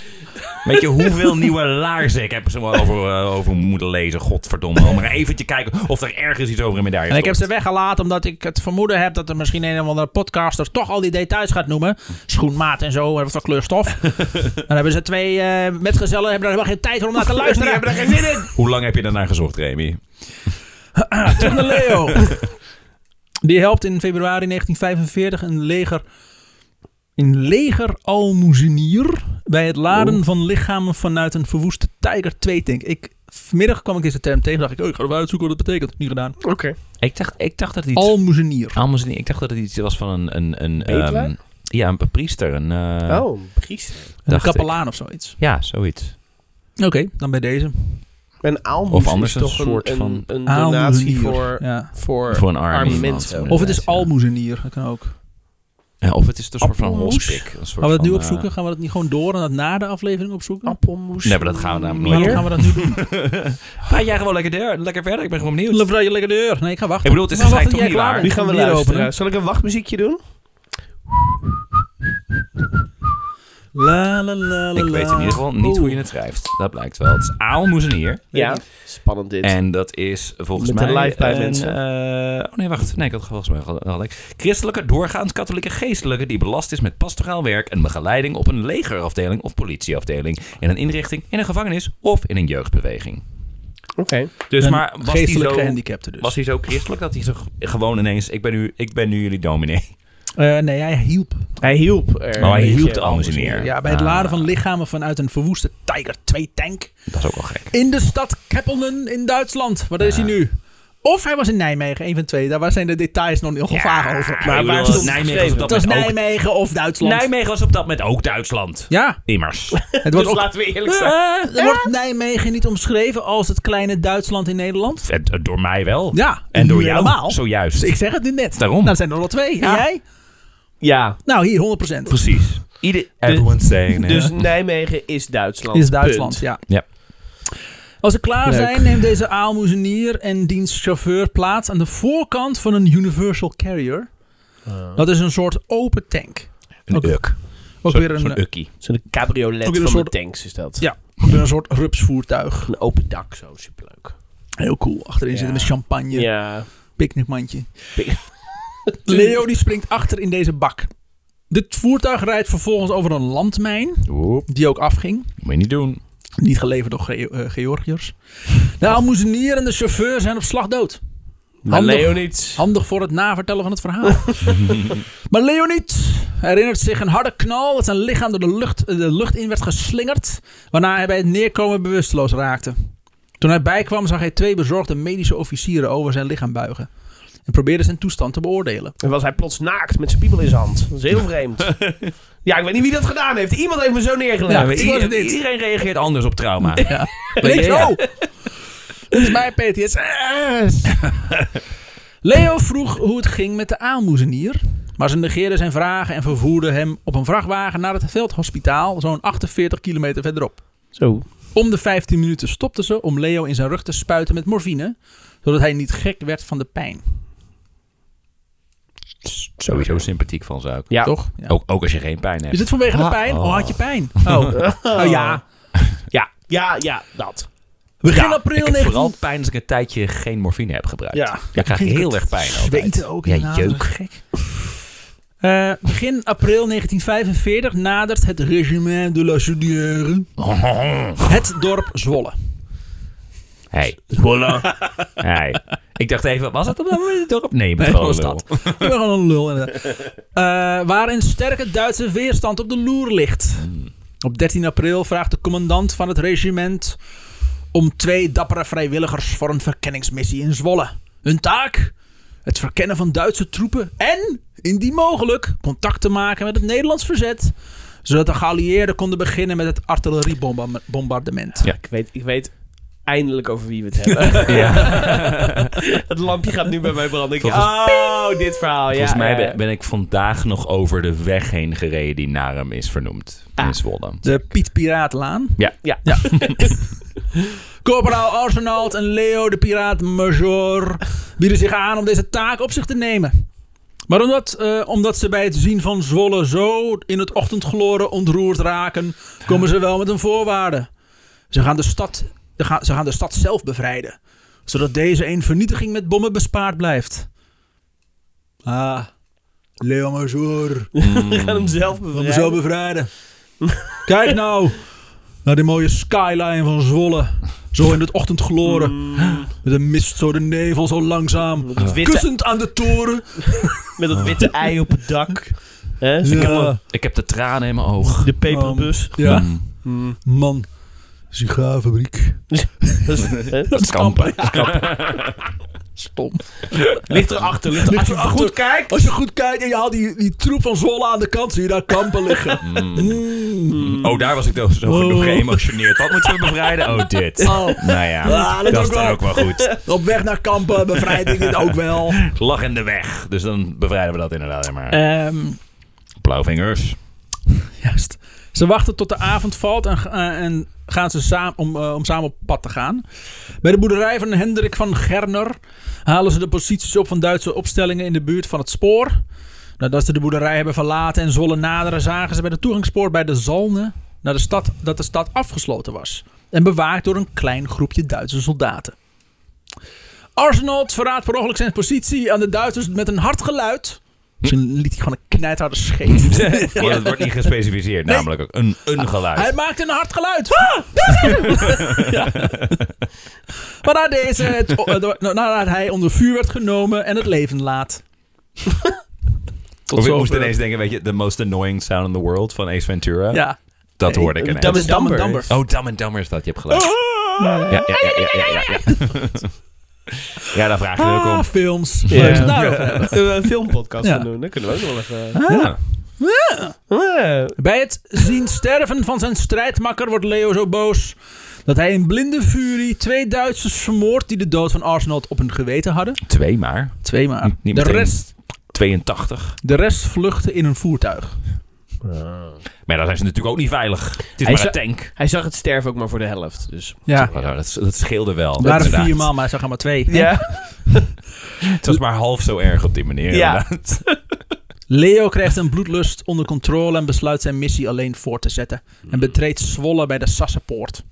S3: Weet je hoeveel nieuwe laarzen ik heb zo over, eh, over moeten lezen? Godverdomme. Om maar eventjes kijken of er ergens iets over een medaille
S1: En ik heb
S3: stond.
S1: ze weggelaten omdat ik het vermoeden heb dat er misschien een of andere podcaster toch al die details gaat noemen. Schoenmaat en zo, en wat voor kleurstof. Dan hebben ze twee eh, metgezellen, hebben daar helemaal geen tijd voor om naar te luisteren.
S3: (laughs)
S2: Die hebben er geen zin in.
S3: Hoe lang heb je daarnaar gezocht, Remy?
S1: Terug naar Leo. Die helpt in februari 1945 een leger, een leger almoezenier bij het laden van lichamen vanuit een verwoeste Tiger 2 tank. Ik, vanmiddag kwam ik deze term tegen en dacht ik, oh, ik ga even uitzoeken wat dat betekent. Niet gedaan.
S2: Oké.
S3: Ik dacht, ik dacht dat het iets...
S1: Almoezenier.
S3: Almost niet. Ik dacht dat het iets was van een... een, een
S2: Bedelaar?
S3: ehm, ja, een priester. Een, eh,
S2: Oh, precies.
S1: Een
S3: dacht ik.
S1: kapelaan of zoiets.
S3: Ja, zoiets.
S1: Oké, dan bij deze.
S2: Een aalmoes
S3: Of anders
S2: is toch
S3: een
S2: een,
S3: soort
S2: een,
S3: van-
S2: een donatie
S1: Almoezenier.
S2: voor,
S1: Ja.
S2: voor,
S3: Voor een arme
S2: arme
S3: iemand,
S2: mensen.
S3: inderdaad.
S1: Of het is almoezenier, dat kan ook.
S3: Ja, of het is een soort van
S2: Appelmoes?
S3: hospik. Een soort
S1: Gaan we het
S3: van,
S1: nu
S3: eh,
S1: opzoeken? Gaan we dat niet gewoon door en dat na de aflevering opzoeken?
S2: Appelmoes.
S3: Nee, maar dat gaan we namelijk nooit
S1: Waarom
S3: meer.
S1: gaan we dat nu doen?
S3: Ga jij gewoon lekker, deur, lekker verder? Ik ben gewoon benieuwd.
S1: Levrij je lekker deur. Nee, ik ga wachten.
S3: Ik bedoel, het is
S1: Maar wacht tot
S3: waarschijnlijk
S1: jij
S3: toch niet
S1: klaar
S2: Nu
S1: bent.
S2: gaan we
S1: Bier
S2: luisteren.
S1: openen.
S2: Zal ik een wachtmuziekje doen?
S1: La, la, la, la,
S3: Ik weet in ieder geval niet hoe je het schrijft. Dat blijkt wel. Het is aalmoezenier.
S2: Ja. Spannend dit.
S3: En dat is volgens
S2: Met
S3: mij...
S2: een live bij
S3: een,
S2: mensen.
S3: eh, oh nee, wacht. Nee, ik had volgens mij gel- gelijk. Christelijke, doorgaans katholieke geestelijke die belast is met pastoraal werk en begeleiding op een legerafdeling of politieafdeling, in een inrichting, in een gevangenis of in een jeugdbeweging.
S2: Oké.
S3: Dus
S1: Een
S3: maar was hij
S1: geestelijk
S3: zo...
S1: gehandicapte dus.
S3: Was hij zo christelijk dat hij zo g- gewoon ineens... Ik ben nu, ik ben nu jullie dominee.
S1: Eh, nee, hij hielp.
S2: Hij hielp er.
S3: Maar hij
S2: een
S3: hielp
S2: beetje.
S3: de almoezenier.
S1: Ja, bij het
S3: Ah,
S1: laden van lichamen vanuit een verwoeste Tiger 2 tank.
S3: Dat is ook wel gek.
S1: In de stad Keppelnen in Duitsland. Waar is hij nu? Of hij was in Nijmegen, één van twee. Daar zijn de details nog heel gevaar over.
S3: Maar waar
S1: stond-
S3: Nijmegen was op
S1: Het
S3: dat
S1: was
S3: moment ook...
S1: Nijmegen of Duitsland.
S3: Nijmegen was op dat moment ook Duitsland.
S1: ja,
S3: Immers.
S1: het wordt,
S2: Dus
S1: ook,
S2: laten we eerlijk zijn.
S1: Eh, wordt Nijmegen niet omschreven als het kleine Duitsland in Nederland?
S3: Het- het- door mij wel.
S1: Ja,
S3: En door
S1: nu
S3: jou
S1: helemaal.
S3: zojuist.
S1: Ik zeg het nu net.
S3: Daarom.
S1: Nou, dat zijn er al twee. En
S3: Ja.
S1: jij?
S2: Ja.
S1: Nou, hier 100%.
S3: Precies. Ieder, everyone's saying it.
S2: Dus Nijmegen is Duitsland.
S1: Is Duitsland,
S2: Punt.
S1: ja.
S3: Ja.
S1: Als ze klaar
S2: Leuk.
S1: zijn, neemt deze aalmoezenier en dienstchauffeur plaats aan de voorkant van een Universal Carrier.
S2: Ah.
S1: Dat is een soort open tank.
S3: een
S1: Ook-
S3: uk.
S1: Ook
S3: Zo-
S1: weer een, eh,
S3: Zo'n ukkie.
S2: Zo'n cabriolet
S1: Ook
S2: van
S1: weer een
S2: de
S1: soort-
S2: tanks is dat.
S1: Ja. ook weer een soort rupsvoertuig.
S2: Een open dak zo, superleuk.
S1: Heel cool. Achterin
S2: Ja.
S1: zitten met champagne,
S2: Ja.
S1: picknickmandje.
S2: Pik-
S1: Leo die springt achter in deze bak. Dit voertuig rijdt vervolgens over een landmijn,
S3: Oep,
S1: die ook afging.
S3: moet je niet doen.
S1: Niet geleverd door Ge- eh, Georgiërs. De aalmoezenier en de chauffeur zijn op slag dood.
S2: Maar
S1: Handig.
S2: Leonid.
S1: Handig voor het navertellen van het verhaal. (laughs) maar Leonid herinnert zich een harde knal dat zijn lichaam door de lucht, eh, de lucht in werd geslingerd, waarna hij bij het neerkomen bewusteloos raakte. Toen hij bijkwam zag hij twee bezorgde medische officieren over zijn lichaam buigen en probeerde zijn toestand te beoordelen.
S2: En was hij plots naakt met zijn piemel in zijn hand. Dat is heel
S1: (laughs)
S2: vreemd. ja, ik weet niet wie dat gedaan heeft. Iemand heeft me zo neergelegd.
S1: Ja, ik was het niet.
S3: Iedereen reageert anders op trauma.
S1: (laughs) Ja. Weet
S3: Ja.
S1: zo! Dit is mijn PTS.
S3: (laughs)
S1: Leo vroeg hoe het ging met de aalmoezenier. Maar ze negeerden zijn vragen en vervoerden hem op een vrachtwagen naar het veldhospitaal, zo'n 48 kilometer verderop.
S2: Zo.
S1: Om de 15 minuten stopten ze om Leo in zijn rug te spuiten met morfine, zodat hij niet gek werd van de pijn.
S3: Sowieso sympathiek van zaak.
S2: Ja.
S1: Toch? Ja.
S3: Ook, ook als je geen pijn
S1: Is
S3: hebt.
S1: het vanwege de
S3: Oh. Ah,
S1: pijn?
S3: oh.
S1: Oh, had je pijn? Oh, oh ja.
S2: Ja. Ja, ja, dat.
S1: Begin
S3: Ja,
S1: april
S3: ik heb
S1: 19...
S3: vooral pijn als ik een tijdje geen morfine heb gebruikt.
S2: Ja.
S3: Ik krijg
S1: Ging ik
S3: heel
S1: het
S3: erg pijn altijd.
S1: Zweten ook.
S3: Ja,
S1: inderdaad,
S3: jeuk. (laughs)
S1: dat is Gek. Eh, begin april 1945 nadert het regiment de la Chaudière het dorp Zwolle.
S3: Hey,
S2: Voilà.
S3: (laughs) hey. Ik dacht even, was het op dat moment het dorp? Nee, maar gewoon
S1: was
S3: dat.
S1: Ik (laughs) ben gewoon een lul. inderdaad. Eh, waarin sterke Duitse weerstand op de loer ligt. Op 13 april vraagt de commandant van het regiment om twee dappere vrijwilligers voor een verkenningsmissie in Zwolle. Hun taak? Het verkennen van Duitse troepen en, indien mogelijk, contact te maken met het Nederlands verzet. Zodat de geallieerden konden beginnen met het artilleriebombardement.
S2: ik, weet, ik weet eindelijk over wie we het hebben. (laughs) het lampje gaat nu bij mij branden. Ik,
S3: Volgens-
S2: oh, dit verhaal.
S3: Volgens
S2: ja,
S3: mij
S2: ja,
S3: ben,
S2: ja.
S3: ben ik vandaag nog over de weg heen gereden die naar hem is vernoemd.
S1: Ah.
S3: In Zwolle.
S1: De Piet Piraatlaan.
S2: Ja.
S1: (laughs) Corporaal Arsenault en Leo de Piraat Major bieden zich aan om deze taak op zich te nemen. Maar omdat, eh, omdat ze bij het zien van Zwolle zo in het ochtendgloren ontroerd raken, komen ze wel met een voorwaarde. Ze gaan de stad, ze gaan, ze gaan de stad zelf bevrijden, zodat deze een vernietiging met bommen bespaard blijft. Ah, Leo Major,
S2: We gaan hem zelf
S1: om zo
S2: bevrijden.
S1: bevrijden. (laughs) Kijk nou naar die mooie skyline van Zwolle. Zo in het
S2: Mm.
S1: ochtendgloren. Met de mist zo de nevel zo langzaam.
S2: Met dat witte,
S1: Kussend aan de toren.
S2: met dat witte ei op het dak. Hè? Ik heb een-
S3: Ik heb de tranen in mijn oog.
S2: De peperbus.
S1: ja.
S3: Mm.
S2: Hmm.
S1: Man. Sigaarfabriek.
S2: Dat is- hè?
S1: Dat is kampen.
S2: Ligt erachter, ligt
S1: Ligt
S2: erachter.
S1: erachter.
S2: Goed kijkt.
S1: Als je goed kijkt en je haalt die, die troep van Zwolle aan de kant, zie je daar kampen liggen. Mm.
S3: Oh, daar was ik dus zo genoeg
S1: Oh.
S3: geëmotioneerd. Wat (laughs) moeten we bevrijden? Oh, dit.
S1: Oh.
S3: Nou ja,
S1: Ah, dat
S3: dat,
S1: ook
S3: is dan
S1: wel.
S3: ook wel goed.
S1: (laughs) Op weg naar kampen bevrijd ik dit ook wel.
S3: Lag in de weg. Dus dan bevrijden we dat inderdaad. hè, Maar
S1: Ehm
S3: blauwvingers.
S1: (laughs) Juist. Ze wachten tot de avond valt en, eh, en gaan ze samen om, eh, om samen op pad te gaan. Bij de boerderij van Hendrik van Gerner halen ze de posities op van Duitse opstellingen in de buurt van het spoor. Nadat ze de boerderij hebben verlaten en Zwolle naderen, zagen ze bij de toegangspoort bij de Zalne naar de stad, dat de stad afgesloten was. En bewaakt door een klein groepje Duitse soldaten. Arsenault verraadt per ongeluk zijn positie aan de Duitsers met een hard geluid. Misschien liet hij gewoon een knijtharde
S3: (laughs)
S1: scheet.
S3: Maar dat wordt niet gespecificeerd. Namelijk ook een, een
S1: Hij
S3: geluid.
S1: maakte een hard geluid. (laughs) Ja. Maar na deze, het, o- eh, nadat hij onder vuur werd genomen en het leven laat. Tot
S3: Of ik
S1: zover.
S3: moest ineens denken, weet je, the most annoying sound in the world van Ace Ventura.
S1: Ja.
S3: Dat hoorde ik
S2: eh, Dumb
S3: ineens.
S2: and Dumber.
S1: Dumber. Oh.
S3: Oh, Dumb and Dumber is dat. Je hebt
S1: Ah!
S3: gelijk. Ja, ja, ja, ja, ja, ja, ja. (laughs) Ja, daar vraag je er ook
S1: Ah,
S3: om.
S1: films.
S2: Ja.
S1: Leuk. Nou,
S2: Kunnen we een filmpodcast
S1: Ja.
S2: gaan doen? Dat kunnen we ook nog wel even... eh.
S3: Ja.
S2: Ja.
S1: bij het zien sterven van zijn strijdmakker wordt Leo zo boos... dat hij in blinde furie twee Duitsers vermoordt... die de dood van Arsenal op hun geweten hadden.
S3: Twee maar.
S1: Twee maar.
S3: Niet
S1: de,
S3: meteen.
S1: rest,
S3: 82.
S1: de rest vluchtte in een voertuig.
S3: Maar daar zijn ze natuurlijk ook niet veilig. Het is
S2: Hij
S3: maar
S2: zou-
S3: een tank.
S2: Hij zag het sterven ook maar voor de helft, dus...
S1: Ja.
S3: Nou, Dat, dat scheelde wel.
S1: Er waren
S3: inderdaad.
S1: vier man, maar hij zag er maar twee.
S2: Ja.
S3: Het was maar half zo erg op die manier.
S2: Ja.
S3: (laughs) inderdaad.
S1: Leo krijgt zijn bloedlust onder controle en besluit zijn missie alleen voort te zetten. En betreedt Zwolle bij de Sassenpoort.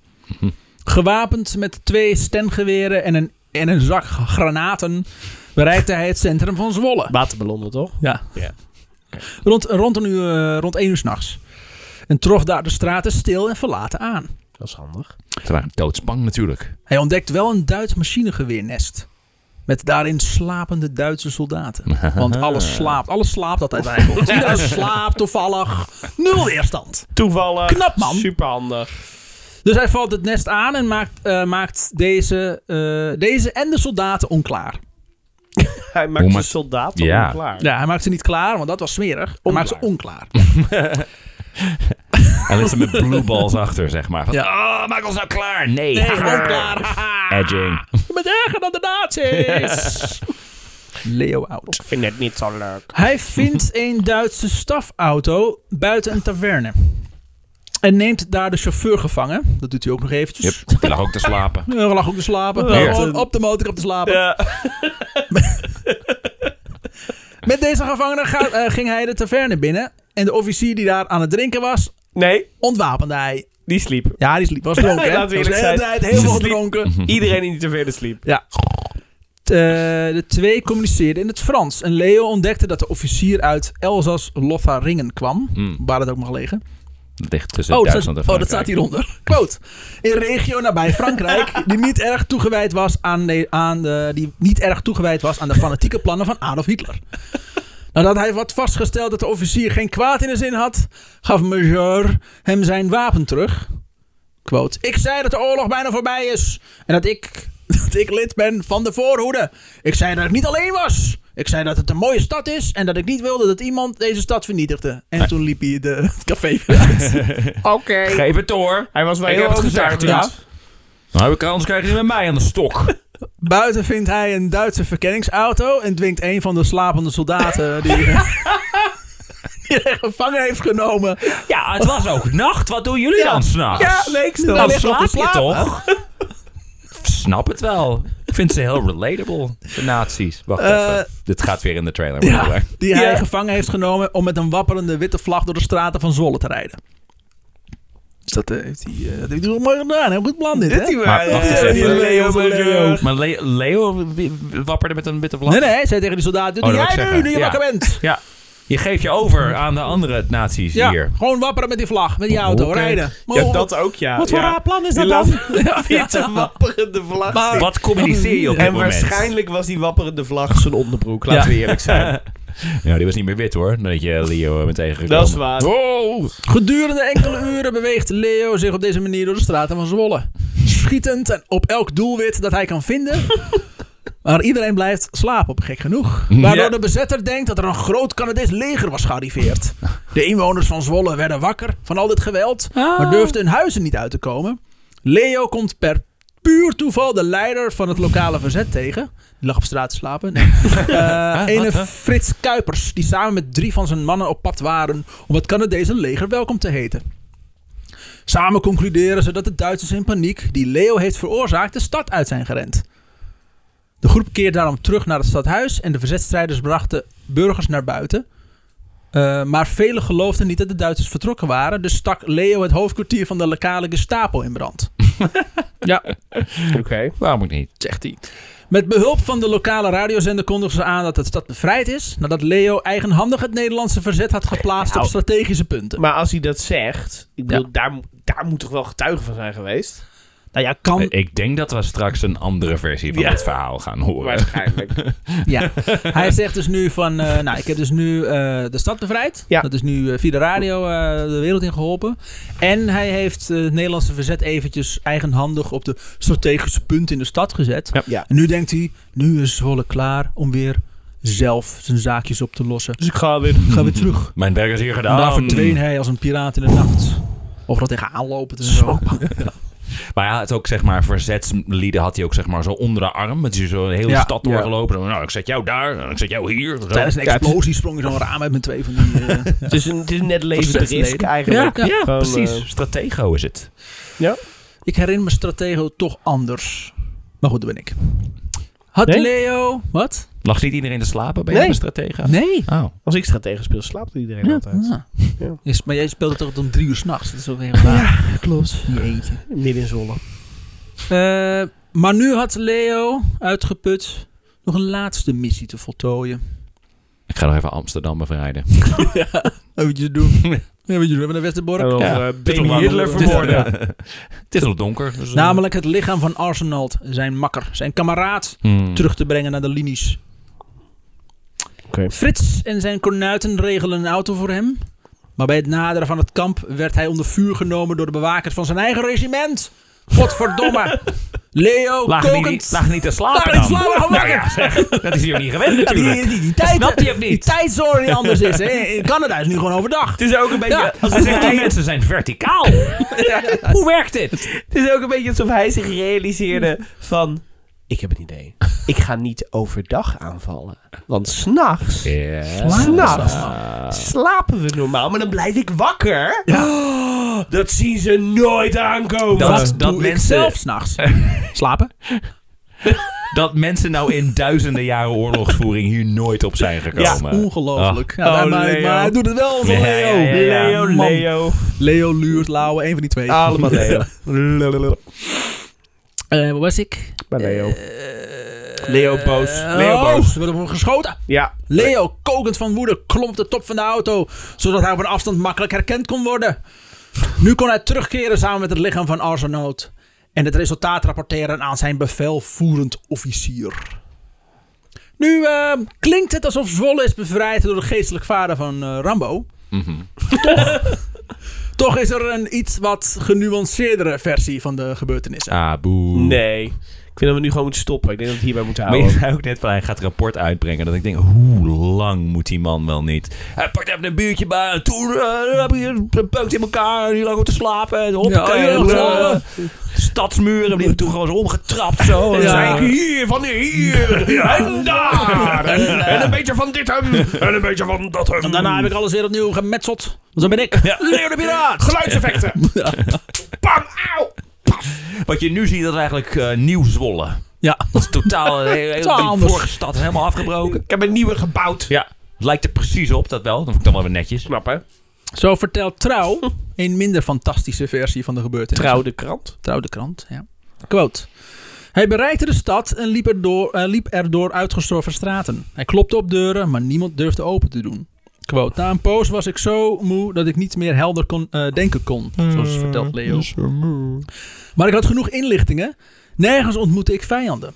S1: Gewapend met twee stengeweren en een, en een zak granaten bereikte hij het centrum van Zwolle.
S2: Waterballonnen, toch?
S1: Ja.
S2: Ja.
S1: Rond, rond, een uur, eh, rond één uur s'nachts. En trof daar de straten stil en verlaten aan.
S2: Dat is handig.
S3: Ze waren doodsbang natuurlijk.
S1: Hij ontdekt wel een Duits machinegeweernest. Met daarin slapende Duitse soldaten. Want alles slaapt. Alles slaapt altijd eigenlijk. Iedereen slaapt toevallig. Nul weerstand.
S2: Toevallig.
S1: Knap, man.
S2: Superhandig.
S1: Dus hij valt het nest aan en maakt, eh, maakt deze, eh, deze en de soldaten onklaar.
S2: Hij maakt
S3: Hoe
S2: de
S3: ma-
S2: soldaat
S3: Ja.
S2: al klaar.
S1: Ja, hij maakt ze niet klaar, want dat was smerig. Hij maakt ze onklaar.
S3: En dat ze met blue balls achter, zeg maar. Van,
S1: Ja.
S3: Oh, maak ons nou klaar. Nee.
S1: Nee,
S3: (laughs)
S1: onklaar. Haha.
S3: Edging.
S1: Je bent erger dan de nazi's. Leo out.
S2: Ik vind het niet zo leuk.
S1: Hij vindt
S2: (laughs)
S1: een Duitse stafauto buiten een taverne. En neemt daar de chauffeur gevangen. Dat doet hij ook nog (laughs) eventjes.
S3: Yep. Die lag ook te slapen.
S1: Ja, lag ook te slapen.
S3: Ja.
S1: Gewoon op de motor op te slapen.
S2: Ja.
S1: Met deze gevangene ga- eh, ging hij de taverne binnen. En de officier die daar aan het drinken was,
S2: Nee,
S1: ontwapende hij.
S2: die sliep.
S1: Ja, die sliep- was dronken. hè?
S2: (laughs) Laten we
S1: Was de
S2: eerlijk
S1: hele
S2: zijn.
S1: tijd heel veel
S2: (laughs) Ze sliep.
S1: dronken.
S2: Iedereen die niet te verder sliep.
S1: Ja. Eh, de twee communiceerden in het Frans. En Leo ontdekte dat de officier uit Elzas-Lotharingen kwam.
S3: Hmm.
S1: Waar het ook mag liggen.
S3: Dat ligt tussen
S1: Oh, dat,
S3: Duitsland
S1: staat,
S3: en
S1: oh, dat staat
S3: Frankrijk.
S1: hieronder. Quote. In regio nabij
S3: (laughs)
S1: Frankrijk, die niet erg toegewijd was aan, de, aan de, die niet erg toegewijd was aan de fanatieke plannen van Adolf Hitler. Nadat hij had vastgesteld dat de officier geen kwaad in de zin had, gaf Major hem zijn wapen terug. Quote. Ik zei dat de oorlog bijna voorbij is en dat ik, (laughs) dat ik lid ben van de voorhoede. Ik zei dat ik niet alleen was. Ik zei dat het een mooie stad is en dat ik niet wilde dat iemand deze stad vernietigde. En toen liep hij de, (laughs) het café weer uit.
S2: Oké.
S3: Geef het door.
S2: Hij was wel
S3: Ik
S2: heel
S3: heb het gezegd,
S2: overtuigend.
S3: ja. Nou, anders krijg je met mij aan de stok.
S1: Buiten vindt hij een Duitse verkenningsauto en dwingt een van de slapende soldaten
S2: (laughs)
S1: die, (laughs) die hij gevangen heeft genomen.
S5: Ja, het was ook nacht. Wat doen jullie dan s'nachts?
S2: Ja, nee, ik
S5: dan
S2: snap het.
S1: ligt
S5: slaap
S1: nog
S5: je
S1: te slapen.
S5: toch?
S3: Snap het wel. Ik vind ze heel relatable, de nazi's. Wacht
S1: Eh,
S3: even. Dit gaat weer in de trailer.
S1: Ja,
S3: maar-
S1: die hij
S2: Ja.
S1: gevangen heeft genomen om met een wapperende witte vlag door de straten van Zwolle te rijden. Dus dat eh, heeft hij, eh, dat heeft hij wel mooi gedaan. Heel goed plan dit,
S2: Dit
S1: hè?
S2: hier
S3: Maar
S2: wel,
S3: wacht
S2: eh,
S3: eens
S2: die
S3: even.
S2: Leo Major.
S3: Maar Le- Leo wie- wapperde met een witte vlag.
S1: Nee, nee, hij zei tegen die soldaten,
S3: Oh,
S1: doe
S3: dat wou ik
S1: jij nu,
S3: zeggen.
S1: nu je
S3: Ja.
S1: wakker bent.
S3: Ja. Je geeft je over aan de andere nazi's
S1: Ja,
S3: hier.
S1: gewoon wapperen met die vlag, met die auto,
S3: Oké.
S1: rijden.
S2: Ja,
S1: Oh,
S2: dat ook, ja.
S1: Wat voor
S2: ja.
S1: raar plan is
S2: Die
S1: dat dan? (laughs)
S2: laat- Witte wapperende vlag.
S1: Maar-
S3: Wat communiceer je op dit
S2: en
S3: moment?
S2: waarschijnlijk was die wapperende vlag zijn onderbroek, laten we eerlijk zijn.
S3: (laughs) Ja, die was niet meer wit hoor. Nadat je Leo bent tegengekomen.
S2: Dat is waar.
S3: Wow.
S1: Gedurende enkele uren beweegt Leo zich op deze manier door de straten van Zwolle. Schietend en op elk doelwit dat hij kan vinden. Maar iedereen blijft slapen, gek genoeg.
S3: Ja.
S1: Waardoor de bezetter denkt dat er een groot Canadees leger was gearriveerd. De inwoners van Zwolle werden wakker van al dit geweld, maar durfden hun huizen niet uit te komen. Leo komt per puur toeval de leider van het lokale verzet tegen. Die lag op straat te slapen. Nee. Eh, ene Frits Kuipers, die samen met drie van zijn mannen op pad waren om het Canadese leger welkom te heten. Samen concluderen ze dat de Duitsers in paniek, die Leo heeft veroorzaakt, de stad uit zijn gerend. De groep keert daarom terug naar het stadhuis en de verzetstrijders brachten burgers naar buiten. Eh, maar velen geloofden niet dat de Duitsers vertrokken waren, dus stak Leo het hoofdkwartier van de lokale Gestapo in brand. ja,
S2: Oké.
S3: Waarom ook niet?
S1: zegt hij. Met behulp van de lokale radiozender kondigden ze aan dat de stad bevrijd is, nadat Leo eigenhandig het Nederlandse verzet had geplaatst
S2: Nou.
S1: op strategische punten.
S2: Maar als hij dat zegt, ik bedoel,
S1: Ja.
S2: daar, mo- daar moet toch wel getuige van zijn geweest?
S1: Nou ja, kan.
S3: Ik denk dat we straks een andere versie van
S2: Ja.
S3: dit verhaal gaan horen.
S2: Waarschijnlijk.
S1: Ja. (laughs) Hij zegt dus nu van, eh, nou, ik heb dus nu eh, de stad bevrijd.
S2: Ja.
S1: Dat is nu eh, via de radio eh, de wereld in geholpen. En hij heeft eh, het Nederlandse verzet eventjes eigenhandig op de strategische punten in de stad gezet.
S3: Ja.
S2: Ja.
S1: En nu denkt hij, nu is Zwolle klaar om weer zelf zijn zaakjes op te lossen.
S2: Dus ik ga weer...
S1: Ga weer terug.
S3: Mijn werk is hier
S1: En
S3: gedaan.
S1: daar verdween hij als een piraat in de nacht. Of dat tegen aanlopen en zo.
S3: Maar ja, het ook zeg maar verzetslieden had hij ook zeg maar zo onder de arm. Het is zo een hele
S1: Ja.
S3: stad doorgelopen. Nou, ik zet jou daar, en ik zet jou hier. Zo.
S1: Tijdens een explosie sprong hij zo'n raam uit met twee van die... eh,
S2: (laughs) Het is, een, het is net levend
S1: Verzetleden.
S2: risk eigenlijk.
S1: Ja, ja,
S2: Gewoon,
S3: Precies,
S2: eh,
S3: stratego is het.
S1: Ik herinner me Stratego toch anders. Maar goed, dat ben ik. Had
S2: Nee?
S1: Leo... Wat?
S3: Lag niet iedereen te slapen bij
S2: Nee.
S3: nee. een stratega?
S1: Nee. Ah.
S3: Oh.
S2: als ik strategen speel, slaapt iedereen altijd. Ja.
S1: Is, maar jij speelde toch om drie uur s'nachts? Dat is ook weer raar. Ja, klopt. Jeetje.
S2: Midden in Zwolle.
S1: Eh, maar nu had Leo, uitgeput, nog een laatste missie te voltooien.
S3: Ik ga nog even Amsterdam bevrijden.
S1: Eventjes (laughs) doen. Eventjes doen met de Westerbork.
S2: En dan,
S3: Ja.
S2: eh,
S3: Het is
S2: baby
S3: nog
S2: Hitler
S3: warm. Het is-
S2: vermoorden.
S3: (laughs) Het is nog donker. Dus, eh,
S1: Namelijk het lichaam van Arsenald, zijn makker, zijn kameraad,
S3: hmm.
S1: terug te brengen naar de linies.
S2: Oké.
S1: Frits en zijn kornuiten regelen een auto voor hem. Maar bij het naderen van het kamp werd hij onder vuur genomen door de bewakers van zijn eigen regiment.
S3: (laughs)
S1: Godverdomme. Leo,
S3: Lag niet,
S1: kokend.
S3: lag niet te slapen
S1: Lag niet
S3: dan.
S1: te slapen, gewoon
S3: Nou ja,
S1: wakker.
S3: zeg, dat is hier ook niet
S1: (laughs)
S3: gewend natuurlijk.
S1: die, die, die
S3: Dat
S1: tijd,
S3: snapt hij ook niet.
S1: die tijdzone die anders is. Hè. In Canada is nu gewoon overdag.
S2: Het is ook een beetje...
S1: Ja.
S2: Als
S3: Hij
S2: het
S3: zegt, die mensen zijn
S1: (laughs)
S3: verticaal. Hoe werkt dit?
S2: Het is ook een beetje alsof hij zich realiseerde van... Ik heb een idee. Ik ga niet overdag aanvallen. Want s'nachts S'nachts slapen we normaal, maar dan blijf ik wakker. Dat zien ze nooit aankomen.
S3: Dat-
S1: Wat doe ik
S3: mensen-
S1: zelf s'nachts. Slapen.
S3: (laughs) Dat mensen nou in duizenden jaren oorlogsvoering hier nooit op zijn gekomen.
S1: Ongelooflijk. Ja,
S2: Oh,
S1: daar- maar,
S2: Leo.
S1: maar hij doet het wel voor
S3: Ja,
S1: Leo.
S3: ja, ja, ja.
S2: Oh, Leo,
S1: Man.
S2: Leo.
S1: Leo, Luurt, Lauwe, één van die twee.
S2: Allemaal Leo.
S1: Eh, waar was ik?
S2: Maar Leo. Leo boos.
S1: Eh,
S2: Leo
S1: oh,
S2: boos.
S1: Er wordt op hem geschoten.
S2: Ja.
S1: Leo, kokend van woede, klom op de top van de auto, zodat hij op een afstand makkelijk herkend kon worden. Nu kon hij terugkeren samen met het lichaam van Arsenoot. En het resultaat rapporteren aan zijn bevelvoerend officier. Nu eh, klinkt het alsof Zwolle is bevrijd door de geestelijk vader van eh, Rambo. (laughs) Toch is er een iets wat genuanceerdere versie van de gebeurtenissen.
S3: Ah, boe.
S2: Nee. Ik vind dat we nu gewoon moeten stoppen. Ik denk dat we het hierbij moeten
S3: Maar je
S2: houden.
S3: zei ook net van hij gaat een rapport uitbrengen. Dat ik denk, hoe lang moet die man wel niet? Hij pakt even een biertje bij. en Toen eh, heb je peukt in elkaar. Die lag ook te slapen. En hoppakee.
S1: Ja, ja,
S3: en, eh,
S1: ja.
S3: stadsmuren. Die hebben toen gewoon zo omgetrapt. Zo. En
S1: Oh, Ja.
S3: zei ik,
S2: hier, van (laughs) hier en daar. En, en een beetje van dit hem en een beetje van dat hem.
S1: En daarna heb ik alles weer opnieuw gemetseld. Want zo ben ik. Ja. Leo de Piraat!
S2: (laughs) Geluidseffecten. Bam, auw.
S3: Wat je nu ziet, dat is eigenlijk eh, nieuw Zwolle.
S1: Ja.
S3: Dat is
S1: (laughs)
S3: totaal... eh, heel-
S1: Totaal
S3: die
S1: anders.
S3: vorige stad is helemaal afgebroken.
S2: Ik heb een nieuwe gebouwd.
S3: Ja. Het lijkt er precies op, dat wel. Dat vind ik dan wel weer netjes.
S2: Knap, hè?
S1: Zo vertelt Trouw een minder fantastische versie van de gebeurtenissen.
S2: Trouw de krant.
S1: Trouw de krant, ja. Quote. Hij bereikte de stad en liep er, door, eh, liep er door uitgestorven straten. Hij klopte op deuren, maar niemand durfde open te doen. Quote. Na een poos was ik zo moe dat ik niet meer helder kon, eh, denken kon, zoals vertelt Leo. Maar ik had genoeg inlichtingen. Nergens ontmoette ik vijanden.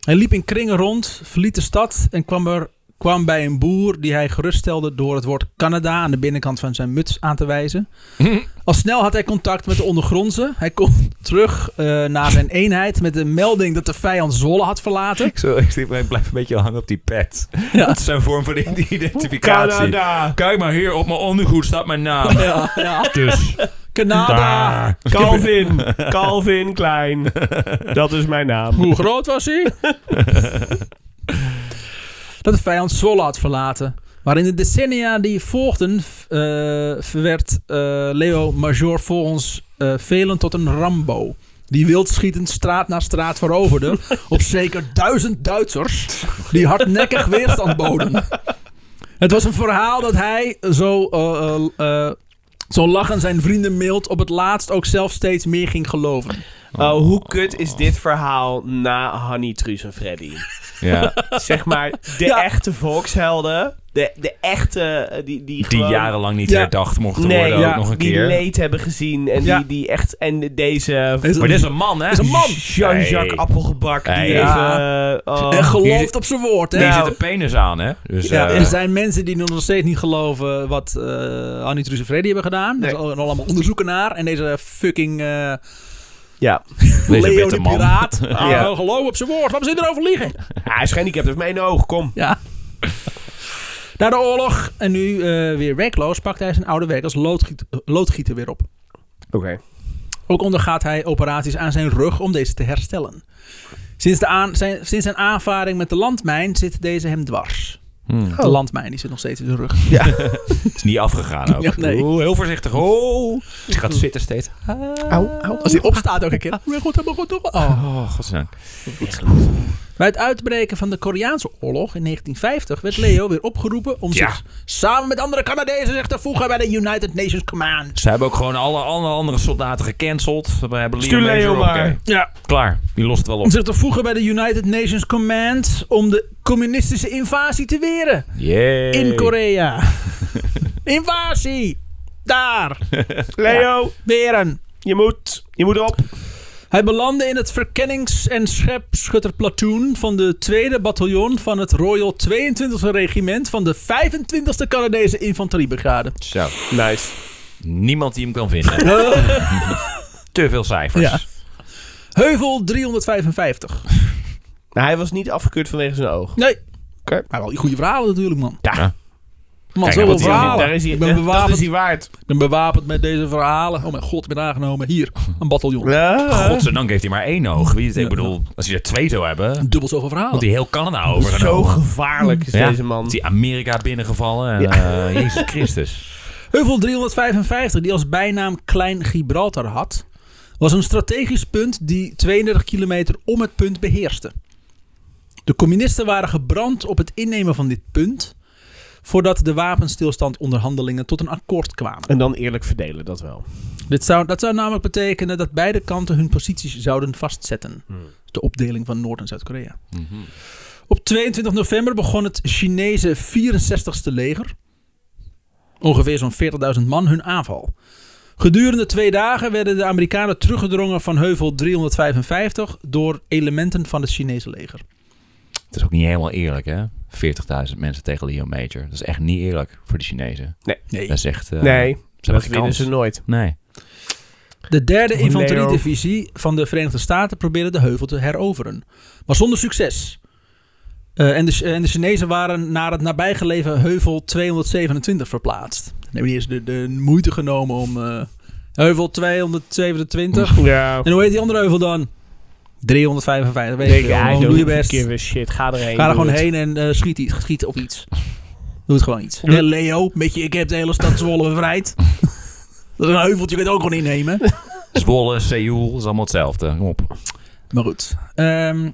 S1: Hij liep in kringen rond, verliet de stad en kwam, er, kwam bij een boer die hij geruststelde door het woord Canada aan de binnenkant van zijn muts aan te wijzen. Al snel had hij contact met de ondergrondse. Hij kon terug eh, naar zijn eenheid met de melding dat de vijand Zwolle had verlaten.
S3: Zo, (laughs) ik zit- ik blijf een beetje hangen op die pet. Dat is een vorm van
S1: (laughs)
S3: identificatie.
S2: Canada.
S3: Kijk maar hier, op mijn ondergoed staat mijn
S1: (laughs)
S3: naam.
S1: Ja, ja.
S3: Dus.
S1: Canada.
S2: Calvin. Calvin Klein. Dat is mijn naam.
S1: Hoe groot was hij? (laughs) dat de vijand Zwolle had verlaten. Maar in de decennia die volgden eh, werd eh, Leo Major volgens eh, velen tot een Rambo. Die wildschietend straat na straat (laughs) veroverde op zeker duizend Duitsers die hardnekkig weerstand boden. Het was een verhaal dat hij zo, eh, eh, eh, zo lachend zijn vrienden mailt op het laatst ook zelf steeds meer ging geloven.
S2: Oh, hoe kut is dit verhaal na Hanny, Truus en Freddy?
S3: Ja,
S1: (laughs)
S2: Zeg maar, de
S1: Ja.
S2: echte volkshelden. De, de echte, eh, die, die,
S3: die
S2: gewoon-
S3: jarenlang niet
S1: Ja.
S3: herdacht mochten
S2: nee,
S3: worden,
S1: ja,
S3: ook nog een
S2: die
S3: keer.
S2: leed hebben gezien. En
S1: Ja.
S2: die, die echt, en deze...
S1: Is
S3: Maar dit is een man, hè?
S1: Is een man.
S2: Jean-Jacques
S3: Hey.
S2: Appelgebak, die
S3: Hey.
S2: heeft...
S1: Ja.
S2: eh, oh.
S1: En
S3: Hier zit-
S1: gelooft op zijn woord, hè?
S3: Hier
S2: Nou.
S3: zit een penis aan, hè? Dus,
S1: Ja,
S3: eh,
S1: er zijn mensen die nog steeds niet geloven wat eh Annie Truus en Freddy hebben gedaan. Er
S2: Nee.
S1: zijn al- allemaal onderzoeken naar. En deze fucking eh
S2: Ja.
S3: deze
S1: Leo
S3: witte
S1: de
S3: man. (laughs)
S1: Piraat. Ah,
S2: Ja.
S1: geloof op zijn woord. Waarom zit erover liegen?
S2: Hij is gehandicapt, heeft mij in oog, kom.
S1: Ja. Na de oorlog en nu eh, weer werkloos pakt hij zijn oude werk als loodgiet, loodgieter weer op.
S2: Oké.
S1: Ook ondergaat hij operaties aan zijn rug om deze te herstellen. Sinds, de aan, zijn, sinds zijn aanvaring met de landmijn zit deze hem dwars.
S3: Oh.
S1: De landmijn die zit nog steeds in zijn rug.
S3: Hmm. Is niet afgegaan ook.
S1: Ja, nee.
S3: Oeh, heel voorzichtig. Oh, ze gaat zitten steeds.
S1: Als hij opstaat ook een keer. Mijn god, mijn god, toch? Oh.
S3: Oh, godzijdank.
S1: Bij het uitbreken van de Koreaanse oorlog in 1950 werd Leo weer opgeroepen om
S3: Ja.
S1: zich samen met andere Canadezen zich te voegen bij de United Nations Command.
S3: Ze hebben ook gewoon alle, alle andere soldaten gecanceld. We hebben
S2: Stuur
S3: Major
S2: Leo
S3: op.
S2: maar.
S3: Oké,
S1: Ja.
S3: Klaar, die lost het wel op.
S1: Om zich te voegen bij de United Nations Command om de communistische invasie te weren
S3: Yay.
S1: in Korea. (laughs) invasie! Daar!
S2: Leo,
S1: Weren!
S2: je moet, je moet op.
S1: Hij belandde in het verkennings- en schepschutterplatoon van de 2e bataljon van het Royal 22e Regiment van de 25e Canadese
S2: (laughs)
S1: Infanteriebrigade.
S3: Zo,
S2: Nice.
S3: niemand die hem kan vinden. Te veel cijfers.
S1: Ja. Heuvel 355.
S2: Nou, hij was niet afgekeurd vanwege zijn oog.
S1: Nee.
S2: Oké.
S1: Maar wel goede verhalen natuurlijk, man.
S2: Ja.
S1: Man,
S3: Kijk,
S1: zoveel
S3: wat hij-
S1: verhalen.
S2: Daar is hij,
S1: ik ben
S2: dat
S1: bewapend,
S2: is hij waard.
S1: ik ben bewapend met deze verhalen. Oh mijn god, ik ben aangenomen. Hier, een bataljon.
S3: Godzijdank heeft hij maar één oog. Wie, ik bedoel, als hij er twee zou hebben,
S1: Dubbel zoveel verhalen.
S3: had hij heel Canada
S2: Zo
S3: overgenomen.
S2: gevaarlijk is
S3: Ja,
S2: deze man.
S3: is die Amerika binnengevallen. En, eh, Jezus Christus.
S1: Heuvel 355, die als bijnaam Klein Gibraltar had, was een strategisch punt die 32 kilometer om het punt beheerste. De communisten waren gebrand op het innemen van dit punt, voordat de wapenstilstandonderhandelingen tot een akkoord kwamen.
S2: En dan eerlijk verdelen, dat wel.
S1: Dit zou, dat zou namelijk betekenen dat beide kanten hun posities zouden vastzetten. De opdeling van Noord- en Zuid-Korea. Op 22 november begon het Chinese 64ste leger, ongeveer zo'n 40.000 man, hun aanval. Gedurende twee dagen werden de Amerikanen teruggedrongen van heuvel 355 door elementen van het Chinese leger.
S3: Het is ook niet helemaal eerlijk, hè? 40.000 mensen tegen Leo Major. Dat is echt niet eerlijk voor de Chinezen.
S1: Nee.
S3: Dat is echt... eh,
S2: nee,
S3: Ze
S2: dat
S3: hebben geen
S2: winnen
S3: kans.
S2: ze nooit.
S3: Nee.
S1: De derde
S2: Leo.
S1: infanteriedivisie van de Verenigde Staten probeerde de heuvel te heroveren. Maar zonder succes. Eh, en, de, en de Chinezen waren naar het nabijgelegen heuvel 227 verplaatst. Dan hebben die eerst de, de moeite genomen om eh, heuvel 227.
S2: Ja.
S1: En hoe heet die andere heuvel dan? 355. Weet
S2: Ik
S1: je, gewoon, doe je best.
S2: Give a shit, ga erheen.
S1: Ga er
S2: doe
S1: gewoon
S2: het.
S1: heen en eh, schiet, iets, schiet op iets. Doe het gewoon iets. En Leo, met je, ik heb de hele stad Zwolle bevrijd. (laughs) Dat is een heuveltje, je kunt het ook gewoon innemen.
S3: Zwolle, Seoul, is allemaal hetzelfde. Kom op.
S1: Maar goed. Ehm,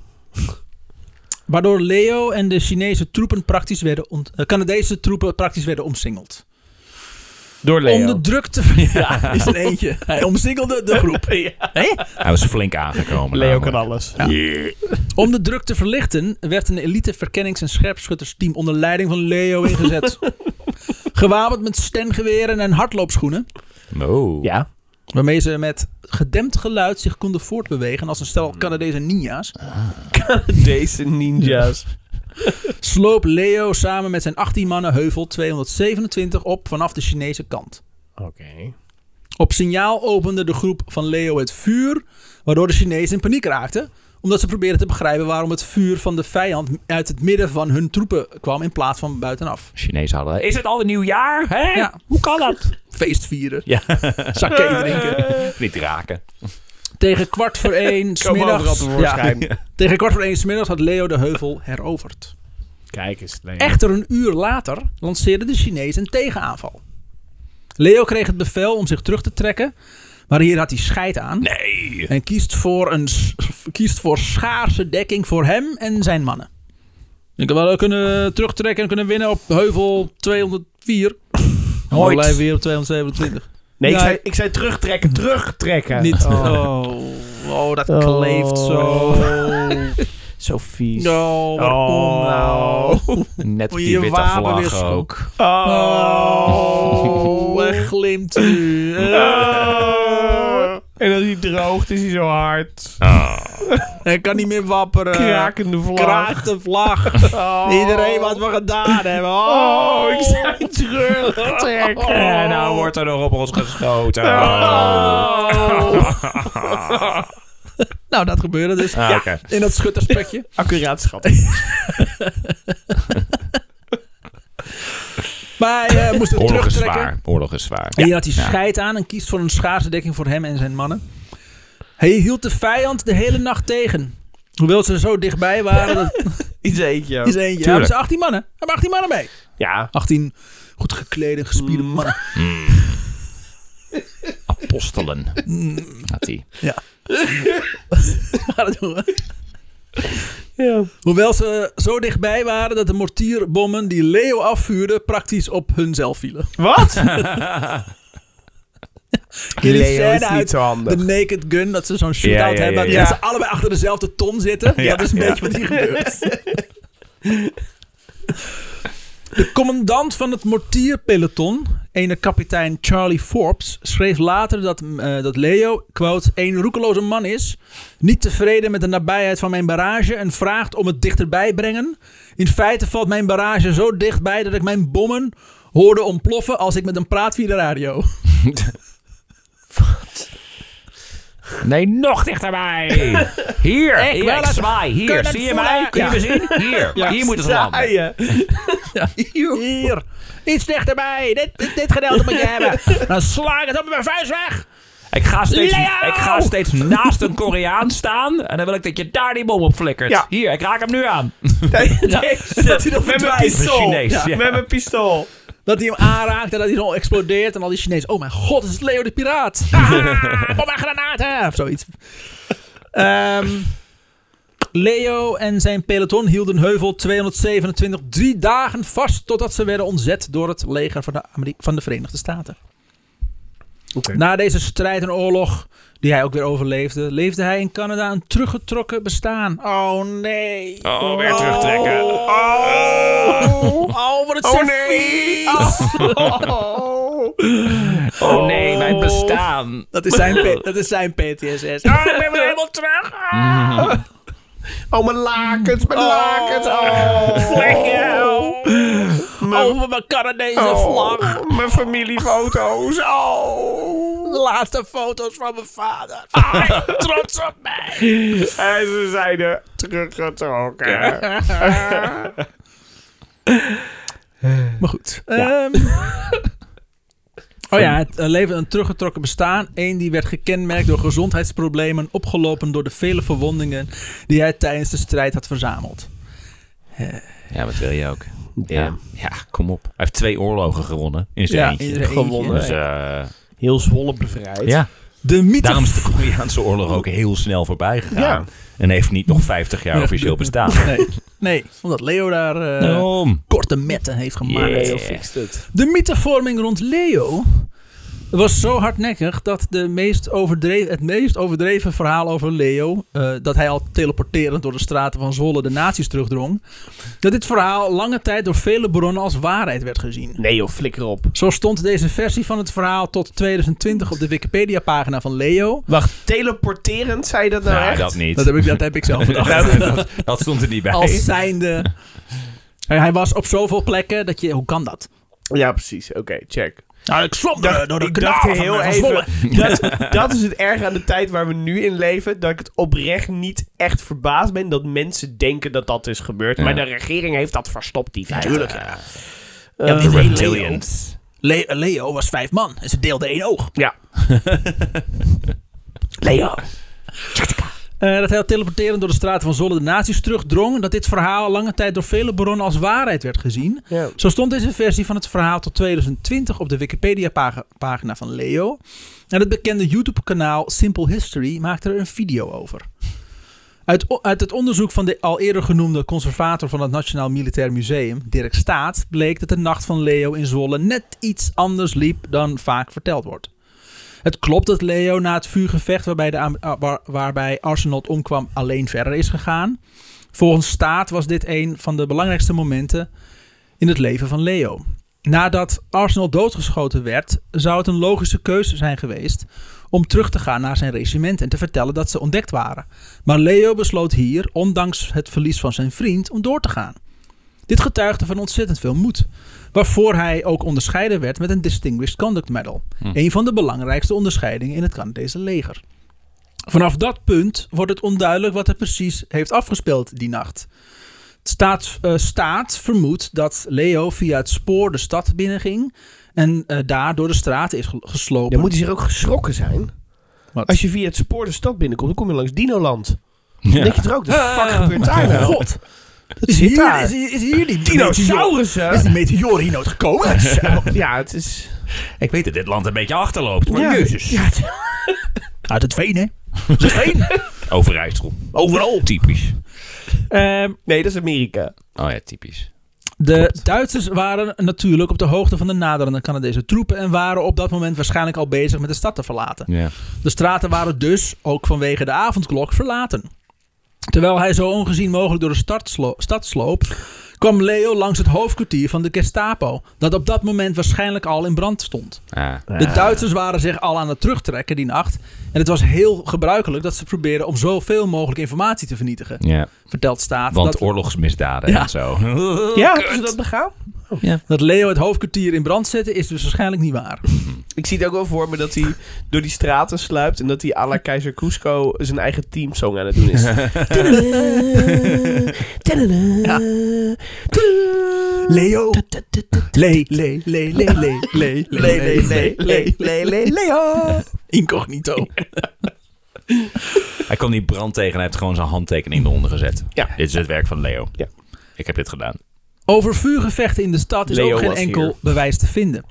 S1: waardoor Leo en de Chinese troepen praktisch werden ont- eh, Canadese troepen praktisch werden omsingeld.
S2: Door Leo.
S1: Om de druk te...
S2: (laughs)
S1: Ja, is er eentje. Hij omsingelde de groep.
S3: Hij was flink aangekomen.
S2: Leo
S3: namelijk.
S2: kan alles.
S1: Om de druk te verlichten werd een elite verkennings- en scherpschuttersteam onder leiding van Leo
S2: (laughs)
S1: ingezet. Gewapend met stengeweren en hardloopschoenen.
S3: Oh.
S2: Ja.
S1: Waarmee ze met gedempt geluid zich konden voortbewegen als een stel Canadese
S2: (laughs)
S1: ninja's.
S2: Deze Hmm. ninjas.
S1: Sloop Leo samen met zijn 18 mannen heuvel 227 op vanaf de Chinese kant.
S2: Oké.
S1: Op signaal opende de groep van Leo het vuur, waardoor de Chinezen in paniek raakten. Omdat ze probeerden te begrijpen waarom het vuur van de vijand uit het midden van hun troepen kwam in plaats van buitenaf.
S3: Chinezen hadden... Is het al een nieuw jaar? Hè?
S1: Ja.
S3: Hoe kan dat?
S1: Feest vieren,
S3: (laughs) Ja.
S1: sake
S2: (laughs)
S1: drinken.
S3: Niet raken.
S1: Tegen kwart voor één
S2: overal
S1: smiddags... Ja,
S2: tevoorschijn.
S1: tegen kwart voor één smiddags had Leo de heuvel heroverd.
S2: Kijk eens, Leo.
S1: Echter een uur later lanceerden de Chinezen een tegenaanval. Leo kreeg het bevel om zich terug te trekken, maar hier had hij scheid aan.
S3: Nee.
S1: En kiest voor, een, s- kiest voor schaarse dekking voor hem en zijn mannen. Ik denk wel, we kunnen terugtrekken en kunnen winnen op heuvel 204. Mooi. We blijven weer op 227.
S2: Nee, ik
S1: Ja,
S2: zei, ik zei terugtrekken, terugtrekken.
S1: Niet.
S2: Oh.
S1: Oh. oh, dat
S2: Oh.
S1: kleeft zo.
S2: (laughs) Zo vies.
S1: No, waarom
S2: Oh.
S1: nou?
S3: Net
S1: Moet
S3: op die
S1: je
S3: witte
S1: wapen weer
S3: vlag ook.
S1: schokken.
S2: Oh.
S1: Oh, (laughs) hij glimt nu.
S2: Oh. En als hij droogt, is hij zo hard.
S1: Hij kan niet meer wapperen.
S2: Krakende vlag.
S1: Kraakt de vlag.
S2: Oh.
S1: Iedereen wat we gedaan hebben. Oh,
S2: Oh, ik zei terugtrekken.
S3: En nou wordt er nog op ons geschoten.
S2: Oh.
S1: Nou, dat gebeurde dus.
S3: Ah, oké.
S1: In dat schutterspekje.
S2: Accuraat, schat.
S1: (laughs) Maar hij eh, moest het
S3: Oorlog is
S1: terugtrekken.
S3: zwaar. Oorlog is zwaar.
S1: En hier had hij scheid aan en kiest voor een schaarse dekking voor hem en zijn mannen. Hij hield de vijand de hele nacht tegen. Hoewel ze zo dichtbij waren. Dat
S2: Iets eentje.
S1: is eentje. Hebben ze 18 mannen? Hebben 18 mannen mee?
S2: Ja.
S1: 18 goed geklede, en
S3: Mm.
S1: gespierde mannen. (laughs)
S3: Apostelen.
S1: Mm.
S3: Had hij.
S1: Waren het, jongen? Hoewel ze zo dichtbij waren dat de mortierbommen die Leo afvuurde praktisch op hunzelf vielen.
S2: Wat?
S1: Die scène
S2: is
S1: uit
S2: niet zo handig.
S1: De Naked Gun, dat ze zo'n shootout
S3: Ja, ja, ja,
S1: hebben.
S3: ja.
S1: Dat ze allebei achter dezelfde ton zitten.
S3: Ja,
S1: dat is een
S3: ja.
S1: beetje wat hier gebeurt. De commandant van het mortierpeloton, ene kapitein Charlie Forbes, schreef later dat, eh, dat Leo, quote, een roekeloze man is, niet tevreden met de nabijheid van mijn barrage en vraagt om het dichterbij brengen. In feite valt mijn barrage zo dichtbij dat ik mijn bommen hoorde ontploffen als ik met hem praat via de radio.
S3: Nee,
S1: (laughs)
S3: nog dichterbij. Hier. hier
S1: wel,
S3: ik
S1: dat-
S3: zwaai.
S1: kun je
S3: Hier.
S1: dat
S3: Zie je
S1: voelen?
S3: mij? Kun je
S1: Ja.
S3: me zien? Hier. Hier moeten ze landen.
S2: Zaaien.
S1: Hier, iets dichterbij. Dit, dit, dit gedeelte
S2: (laughs)
S1: moet je hebben. Dan sla ik het op mijn vuist weg.
S3: Ik ga, steeds,
S1: Leo!
S3: ik ga steeds naast een Koreaan staan. En dan wil ik dat je daar die bom op flikkert.
S2: Ja.
S3: Hier, ik raak hem nu aan.
S1: Dat hij, dat
S2: Met mijn
S1: verdwijnt.
S2: pistool.
S3: Chinees, ja.
S2: Met mijn pistool.
S1: dat hij hem aanraakt en dat hij zo explodeert. En al die Chinezen, oh mijn god, het is Leo de Piraat.
S3: (laughs)
S1: Ah, op mijn granaten. Of zoiets. Ehm, Leo en zijn peloton hielden heuvel 227 drie dagen vast... totdat ze werden ontzet door het leger van de, Ameri- van de Verenigde Staten. Na deze strijd en oorlog, die hij ook weer overleefde, leefde hij in Canada een teruggetrokken bestaan. Oh nee.
S3: Oh, weer terugtrekken. Oh
S1: Oh, oh wat het oh, nee.
S2: Oh.
S3: Oh nee, mijn bestaan.
S1: Dat is zijn, (laughs) P- dat is zijn PTSS.
S3: Ah, ik ben weer helemaal terug. Ah,
S2: (laughs) Oh, mijn lakens, mijn lakens. Oh,
S3: vlekken. Oh.
S1: Over mijn Canadese
S2: Oh,
S1: vlag.
S2: Mijn familiefoto's. Oh.
S1: De laatste foto's van mijn vader.
S3: Trots op mij.
S2: En ze zijn er teruggetrokken.
S1: Maar goed. Ehm. (laughs) oh ja, het eh, leven een teruggetrokken bestaan. Eén die werd gekenmerkt door gezondheidsproblemen, opgelopen door de vele verwondingen die hij tijdens de strijd had verzameld.
S3: Ja, wat wil je ook?
S2: Ja.
S3: Ja, ja kom op. Hij heeft twee oorlogen gewonnen in zijn
S1: Ja,
S3: eentje.
S1: in zijn eentje. Gewonnen.
S3: Dus, eh,
S2: Heel Zwolle bevrijd.
S3: ja.
S1: De mythe.
S3: Daarom is de Koreaanse oorlog ook heel snel voorbij gegaan.
S2: Ja.
S3: En heeft niet nog 50 jaar officieel bestaan.
S1: (laughs) Nee, nee, omdat Leo daar eh,
S3: (laughs) Daarom.
S1: korte metten heeft gemaakt.
S3: Yeah.
S2: Heel fixt het.
S1: De mythevorming rond Leo was zo hardnekkig dat de meest overdreven, het meest overdreven verhaal over Leo, eh, dat hij al teleporterend door de straten van Zwolle de nazi's terugdrong, dat dit verhaal lange tijd door vele bronnen als waarheid werd gezien.
S2: Nee joh, flikker op.
S1: Zo stond deze versie van het verhaal tot 2020 op de Wikipedia-pagina van Leo.
S2: Wacht, teleporterend, zei je dat nou
S3: Nou,
S2: echt?
S3: dat niet.
S1: Dat heb ik, dat heb ik
S2: (laughs)
S1: zelf bedacht.
S3: (laughs) dat, dat- dat stond er niet bij.
S1: Als zijnde. Hij hij was op zoveel plekken dat je. Hoe kan dat?
S2: Ja, precies. Oké, check.
S1: Nou, ik zwom
S2: Dacht-
S1: door de
S2: ik dacht
S1: kanaal van
S2: heel
S1: mijn
S2: even,
S1: Zwolle. (laughs)
S2: dat, dat is het erg aan de tijd waar we nu in leven, dat ik het oprecht niet echt verbaasd ben dat mensen denken dat dat is gebeurd. Maar de regering heeft dat verstopt, die feiten.
S1: Tuurlijk, ja.
S2: Eh,
S1: dit is Leo.
S3: Reptilians.
S1: Le- Leo was vijf man en ze deelde één oog.
S2: ja.
S1: (laughs) Leo. Eh, dat hij al teleporterend door de straten van Zolle de nazi's terugdrong. en Dat dit verhaal lange tijd door vele bronnen als waarheid werd gezien.
S2: Ja.
S1: Zo stond deze versie van het verhaal tot 2020 op de Wikipedia-pagina van Leo. En het bekende YouTube-kanaal Simple History maakte er een video over. Uit, o- uit het onderzoek van de al eerder genoemde conservator van het Nationaal Militair Museum, Dirk Staat, bleek dat de nacht van Leo in Zwolle net iets anders liep dan vaak verteld wordt. Het klopt dat Leo na het vuurgevecht waarbij, de, Am- ah, waar- waarbij Arsenault omkwam alleen verder is gegaan. Volgens staat was dit een van de belangrijkste momenten in het leven van Leo. Nadat Arsenal doodgeschoten werd, zou het een logische keuze zijn geweest om terug te gaan naar zijn regiment en te vertellen dat ze ontdekt waren. Maar Leo besloot hier, ondanks het verlies van zijn vriend, om door te gaan. Dit getuigde van ontzettend veel moed, waarvoor hij ook onderscheiden werd met een Distinguished Conduct Medal, een van de belangrijkste onderscheidingen in het Canadese leger. Vanaf dat punt wordt het onduidelijk wat er precies heeft afgespeeld die nacht. Het Staat, eh, staat vermoedt dat Leo via het spoor de stad binnenging en eh, daar door de straten is ge- geslopen.
S2: Dan moet hij zich ook geschrokken zijn.
S1: Wat?
S2: Als je via het spoor de stad binnenkomt, dan kom je langs Dinoland. Dan
S3: Ja.
S2: denk je toch ook, de fuck gebeurt daar nou?
S1: Ah. Oh, God,
S2: dat
S1: is
S2: zit
S1: hier,
S2: daar.
S1: is, hier- is hier die
S2: Dinosaurussen?
S1: die meteor hier nooit gekomen?
S2: Ja, het is...
S3: Ik weet dat dit land een beetje achterloopt. Maar
S2: ja.
S3: jezus.
S2: Ja, het-
S1: Uit het veen, hè? Uit het veen.
S3: Overijssel. Overal. Typisch.
S1: Ehm,
S2: Nee, dat is Amerika.
S3: Oh ja, typisch.
S1: de Duitsers waren natuurlijk op de hoogte van de naderende Canadese troepen en waren op dat moment waarschijnlijk al bezig met de stad te verlaten.
S3: Ja.
S1: De straten waren dus, ook vanwege de avondklok, verlaten. Terwijl hij zo ongezien mogelijk door de stad slo- stad sloop, kwam Leo langs het hoofdkwartier van de Gestapo, dat op dat moment waarschijnlijk al in brand stond.
S3: Ah.
S1: De Duitsers waren zich al aan het terugtrekken die nacht en het was heel gebruikelijk dat ze probeerden om zoveel mogelijk informatie te vernietigen,
S3: Ja.
S1: vertelt staat.
S3: Want
S1: dat,
S3: oorlogsmisdaden
S1: Ja.
S3: en zo.
S2: Ja,
S3: Oh,
S2: hebben ze dat begaan?
S1: dat Leo het hoofdkwartier in brand zette is dus waarschijnlijk niet waar.
S2: Ik zie het ook wel voor me dat hij door die straten sluipt en dat hij à la Keizer Cusco zijn eigen teamsong aan het
S3: (laughs)
S2: doen is.
S1: Leo. Le, le, le, le, le, le, le, le, le, le, le, le, Leo. Incognito.
S3: Hij kwam die brand tegen en hij heeft gewoon zijn handtekening eronder gezet.
S2: Ja.
S3: Dit is het werk van Leo.
S2: Ja.
S3: Ik heb dit gedaan.
S1: Over vuurgevechten in de stad is
S2: Leo
S1: ook geen
S2: was
S1: enkel
S2: hier.
S1: bewijs te vinden.